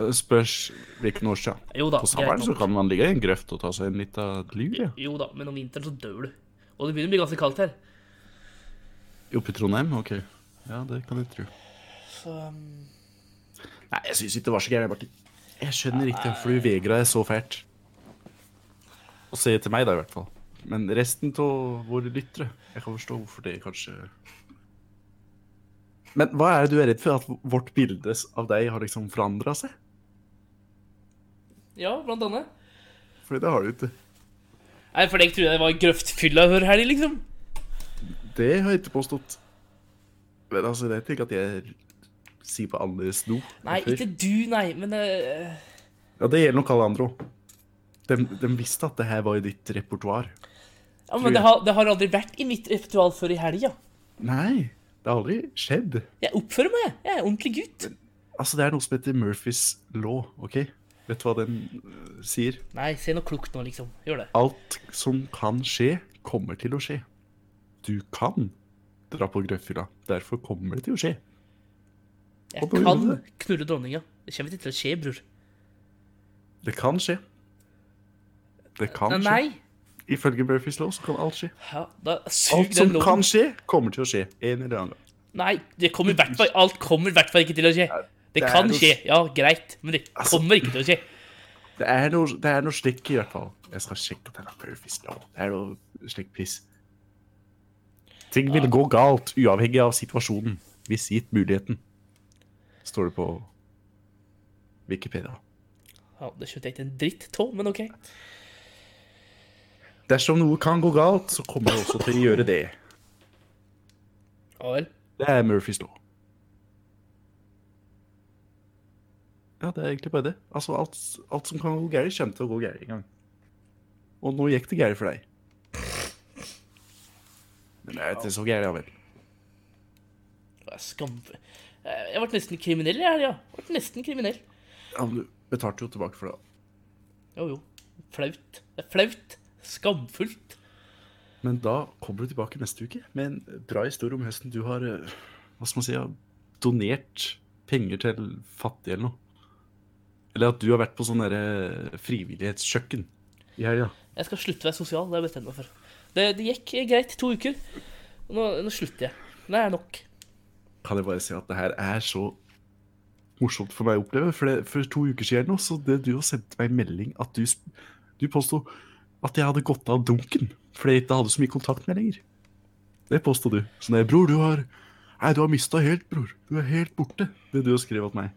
Speaker 1: Eh, Spørs hvilken årstid.
Speaker 2: Jo da,
Speaker 1: På sommeren
Speaker 2: greit
Speaker 1: så
Speaker 2: nok.
Speaker 1: kan man ligge i en grøft og ta seg en liten lur. Ja.
Speaker 2: Jo da, men om vinteren så dør du. Og det begynner å bli ganske kaldt her.
Speaker 1: Oppe i Trondheim? OK. Ja, det kan jeg tro.
Speaker 2: Så um,
Speaker 1: Nei, jeg syns ikke det var så gærent, Martin. Jeg skjønner ikke hvorfor du vegra deg så fælt. Å se til meg, da, i hvert fall. Men resten av våre lyttere Jeg kan forstå hvorfor det kanskje Men hva er det du er redd for? At vårt bilde av deg har liksom forandra seg?
Speaker 2: ja, blant annet.
Speaker 1: Fordi det har du ikke.
Speaker 2: Nei, for jeg trodde jeg var grøftfylla hver helg, liksom.
Speaker 1: Det har jeg ikke påstått. Men altså, det er ikke at jeg sier på andres do.
Speaker 2: Nei,
Speaker 1: Før.
Speaker 2: ikke du, nei, men eh,
Speaker 1: Ja, det gjelder nok alle andre òg. De, de visste at det her var i ditt repertoar.
Speaker 2: ja,
Speaker 1: Tror
Speaker 2: men det
Speaker 1: jeg.
Speaker 2: har, det har aldri vært i mitt repertoar før i helga.
Speaker 1: Nei, det har aldri skjedd.
Speaker 2: Jeg oppfører meg, jeg. Jeg er ordentlig gutt.
Speaker 1: Altså, det er noe som heter Murphys law, OK? Vet du hva den øh, sier?
Speaker 2: Nei, se noe klokt nå, liksom. Gjør det.
Speaker 1: Alt som kan skje, kommer til å skje. Du kan dra på grøffhylla. Derfor kommer det til å skje.
Speaker 2: Jeg
Speaker 1: Og da
Speaker 2: kan
Speaker 1: gjorde du
Speaker 2: knulle dronninga. Det kommer ikke til å skje, bror.
Speaker 1: Det kan skje. Det kan
Speaker 2: Nei,
Speaker 1: skje.
Speaker 2: nei.
Speaker 1: Ifølge Murphys law så kan alt skje.
Speaker 2: Ja, da sug
Speaker 1: Alt som
Speaker 2: den loven.
Speaker 1: kan skje, kommer til å skje. En eller annen gang.
Speaker 2: Nei, det kommer i hvert fall, alt kommer i hvert fall ikke til å skje. Det
Speaker 1: det er Altså-
Speaker 2: kan
Speaker 1: noe-
Speaker 2: skje, ja, greit, men det kommer ikke til å skje.
Speaker 1: Det er noe, det er noe slik, i hvert fall. Jeg skal sjekke at det er Murphys law. Det er noe slik piss. Ting vil gå galt, uavhengig av situasjonen, hvis gitt muligheten. Står det på Wikipedia.
Speaker 2: Ja, det skjønte jeg ikke en dritt tå, men ok.
Speaker 1: Dersom noe kan gå galt, så kommer det også til å gjøre det.
Speaker 2: Ja vel.
Speaker 1: Det er Murphys law. Ja, det er egentlig bare det. Altså, alt, alt som kan gå gærent, kommer til å gå gærent en gang. Og nå gikk det gærent for deg. Men det er ikke så gærent, ja vel.
Speaker 2: Det er Skam... Eh, Jeg ble nesten kriminell i helga. Jeg Ble nesten kriminell.
Speaker 1: Ja, men du betalte jo tilbake for det.
Speaker 2: Jo, jo. Flaut. Det er flaut. Skamfullt.
Speaker 1: Men da kommer du tilbake neste uke med en bra historie om høsten. Du har eh, hva skal man si, ja, donert penger til fattige eller noe. Eller at du har vært på sånn derre frivillighetskjøkken i helga.
Speaker 2: Jeg skal slutte å være sosial, det har jeg bestemt meg for. Det, det gikk eh, greit to uker. Nå, nå slutter jeg. Det er nok.
Speaker 1: Kan jeg bare si at det her er så morsomt for meg å oppleve. For, det, for to uker siden nå, så det du jo sendte meg en melding at du, sp- du påsto at jeg hadde gått av dunken fordi jeg ikke hadde så mye kontakt med lenger. Det påsto du. Så nei, bror, du har Nei, du har mista helt, bror. Du er helt borte. Det du skrev til meg.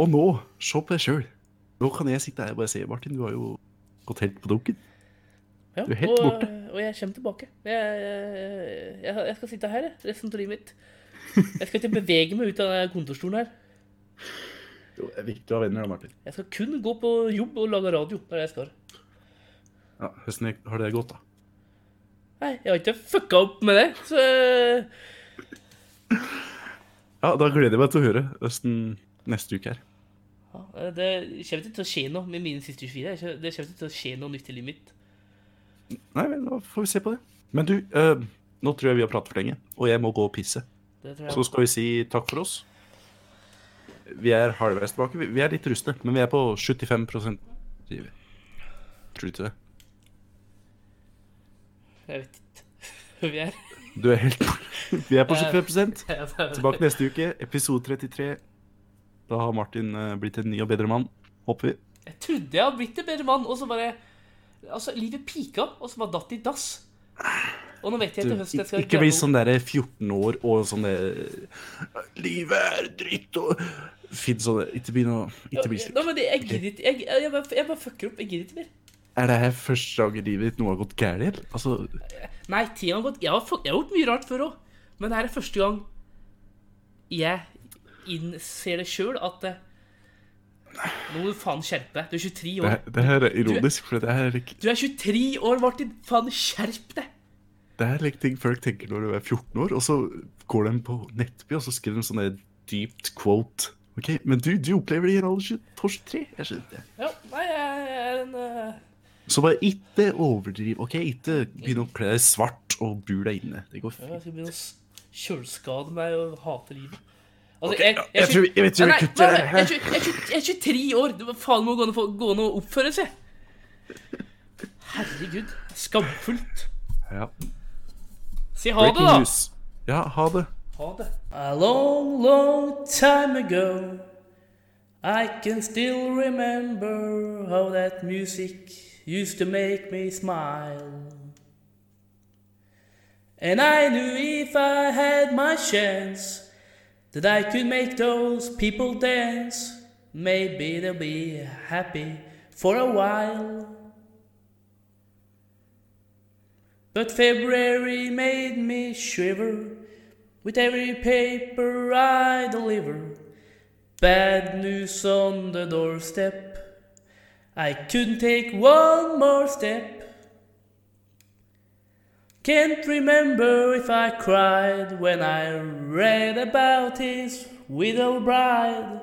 Speaker 1: Og nå, se på deg sjøl. Nå kan jeg sitte her og bare se, Martin, du har jo gått helt på dunken.
Speaker 2: Ja,
Speaker 1: Du er helt
Speaker 2: og,
Speaker 1: borte.
Speaker 2: Og jeg kommer tilbake. Jeg, jeg, jeg, jeg skal sitte her jeg, resten av livet mitt. Jeg skal ikke bevege meg ut av denne kontorstolen her.
Speaker 1: Jo, det er viktig å ha venner da, Martin.
Speaker 2: Jeg skal kun gå på jobb og lage radio. Det er det jeg skal.
Speaker 1: Ja, Hvordan har det gått, da?
Speaker 2: Nei, jeg har ikke fucka opp med det, så eh,
Speaker 1: Ja, Da gleder jeg meg til å høre høsten neste uke her.
Speaker 2: ja, Det kommer ikke til å skje noe med mine siste 24. Jeg kjem- Det kommer ikke til å skje noe nytt i livet mitt.
Speaker 1: Nei vel, da får vi se på det. Men du, eh, nå tror jeg vi har pratet for lenge, og jeg må gå og pisse.
Speaker 2: Det tror
Speaker 1: Så
Speaker 2: jeg.
Speaker 1: skal vi si takk for oss. Vi er halvveis tilbake. Vi- Vi er litt rustne, men vi er på 75 sier vi. Tror du ikke det?
Speaker 2: Jeg vet ikke [LAUGHS] hvor vi er.
Speaker 1: Du er helt Vi er på [LAUGHS] 75 Tilbake
Speaker 2: Tilbake.
Speaker 1: neste uke, episode 33. Da har Martin eh, blitt en ny og bedre mann, håper vi.
Speaker 2: Jeg trodde jeg hadde blitt en bedre mann, og så bare Altså, livet pika, og så bare datt i dass. Og nå vet jeg
Speaker 1: Du,
Speaker 2: til høsten jeg skal
Speaker 1: ikke bli
Speaker 2: å-
Speaker 1: sånn der 14 år og sånn der «Øh, Livet er dritt og Finn sånn Ikke begynn å Ikke bli slik.
Speaker 2: Nei, men det- jeg gidder ikke. Jeg, jeg, jeg, bare, jeg bare fucker opp. Jeg gidder ikke mer.
Speaker 1: Er det her første dag i livet ditt noe har gått gærent? eller? Altså,
Speaker 2: Nei, tida har gått. Jeg har, fuck- jeg har gjort mye rart før òg. Men det her er første gang jeg innser det sjøl at eh, Nå må du faen skjerpe deg. Du er 23
Speaker 1: Det,
Speaker 2: år.
Speaker 1: her- det her er ironisk, for det her er ikke
Speaker 2: Du er 23 år, Martin! Faen, skjerp deg!
Speaker 1: Det er like ting folk tenker når du er 14 år, og så går de på Nettby og så skriver de sånn der dypt quote. Ok, Men du, du opplever det i en alder av 23. Jeg skjønner det.
Speaker 2: Ja, nei, jeg er en eh,
Speaker 1: Så bare ikke overdriv. ok? Ikke begynn å kle deg svart og bur deg inne. Det går
Speaker 2: Jeg
Speaker 1: fint.
Speaker 2: skal begynne å s- kjølskade meg og hate livet. Altså,
Speaker 1: Ok, ja, jeg tror- jeg tror jeg
Speaker 2: Nei, nei,
Speaker 1: kutter
Speaker 2: nei,
Speaker 1: det
Speaker 2: Jeg er tjue- jeg er tjue- jeg er 23 år! Det var faen må gå an å få- gå an å oppføre seg! Herregud. Skamfullt.
Speaker 1: Ja.
Speaker 2: Si ha det, da!
Speaker 1: Ja, ha det.
Speaker 2: Ha det. A long, long time ago I can still remember how that music used to make me smile. And I knew if I had my chance that I could make those people dance. Maybe they'll be happy for a while. But February made me shiver with every paper I deliver. Bad news on the doorstep. I couldn't take one more step. Can't remember if I cried when I read about his widow bride.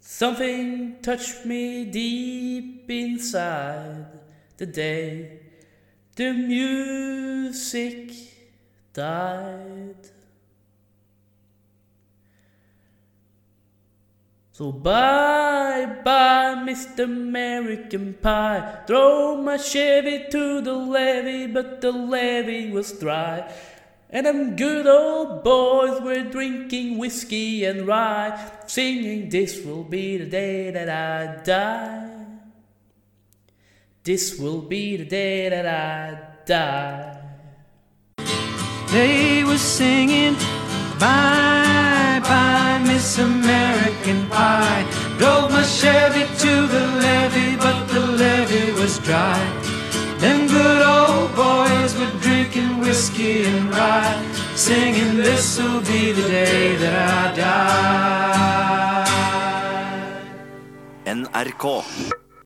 Speaker 2: Something touched me deep inside the day the music died. So bye bye, Mr. American Pie. Throw my Chevy to the levee, but the levee was dry. And them good old boys were drinking whiskey and rye, singing, This will be the day that I die. This will be the day that I die.
Speaker 5: They were singing Bye Bye Miss American Pie. Drove my Chevy to the levee, but the levee was dry. Them good old boys were drinking whiskey and rye, singing This'll be the day that I die.
Speaker 6: NRK.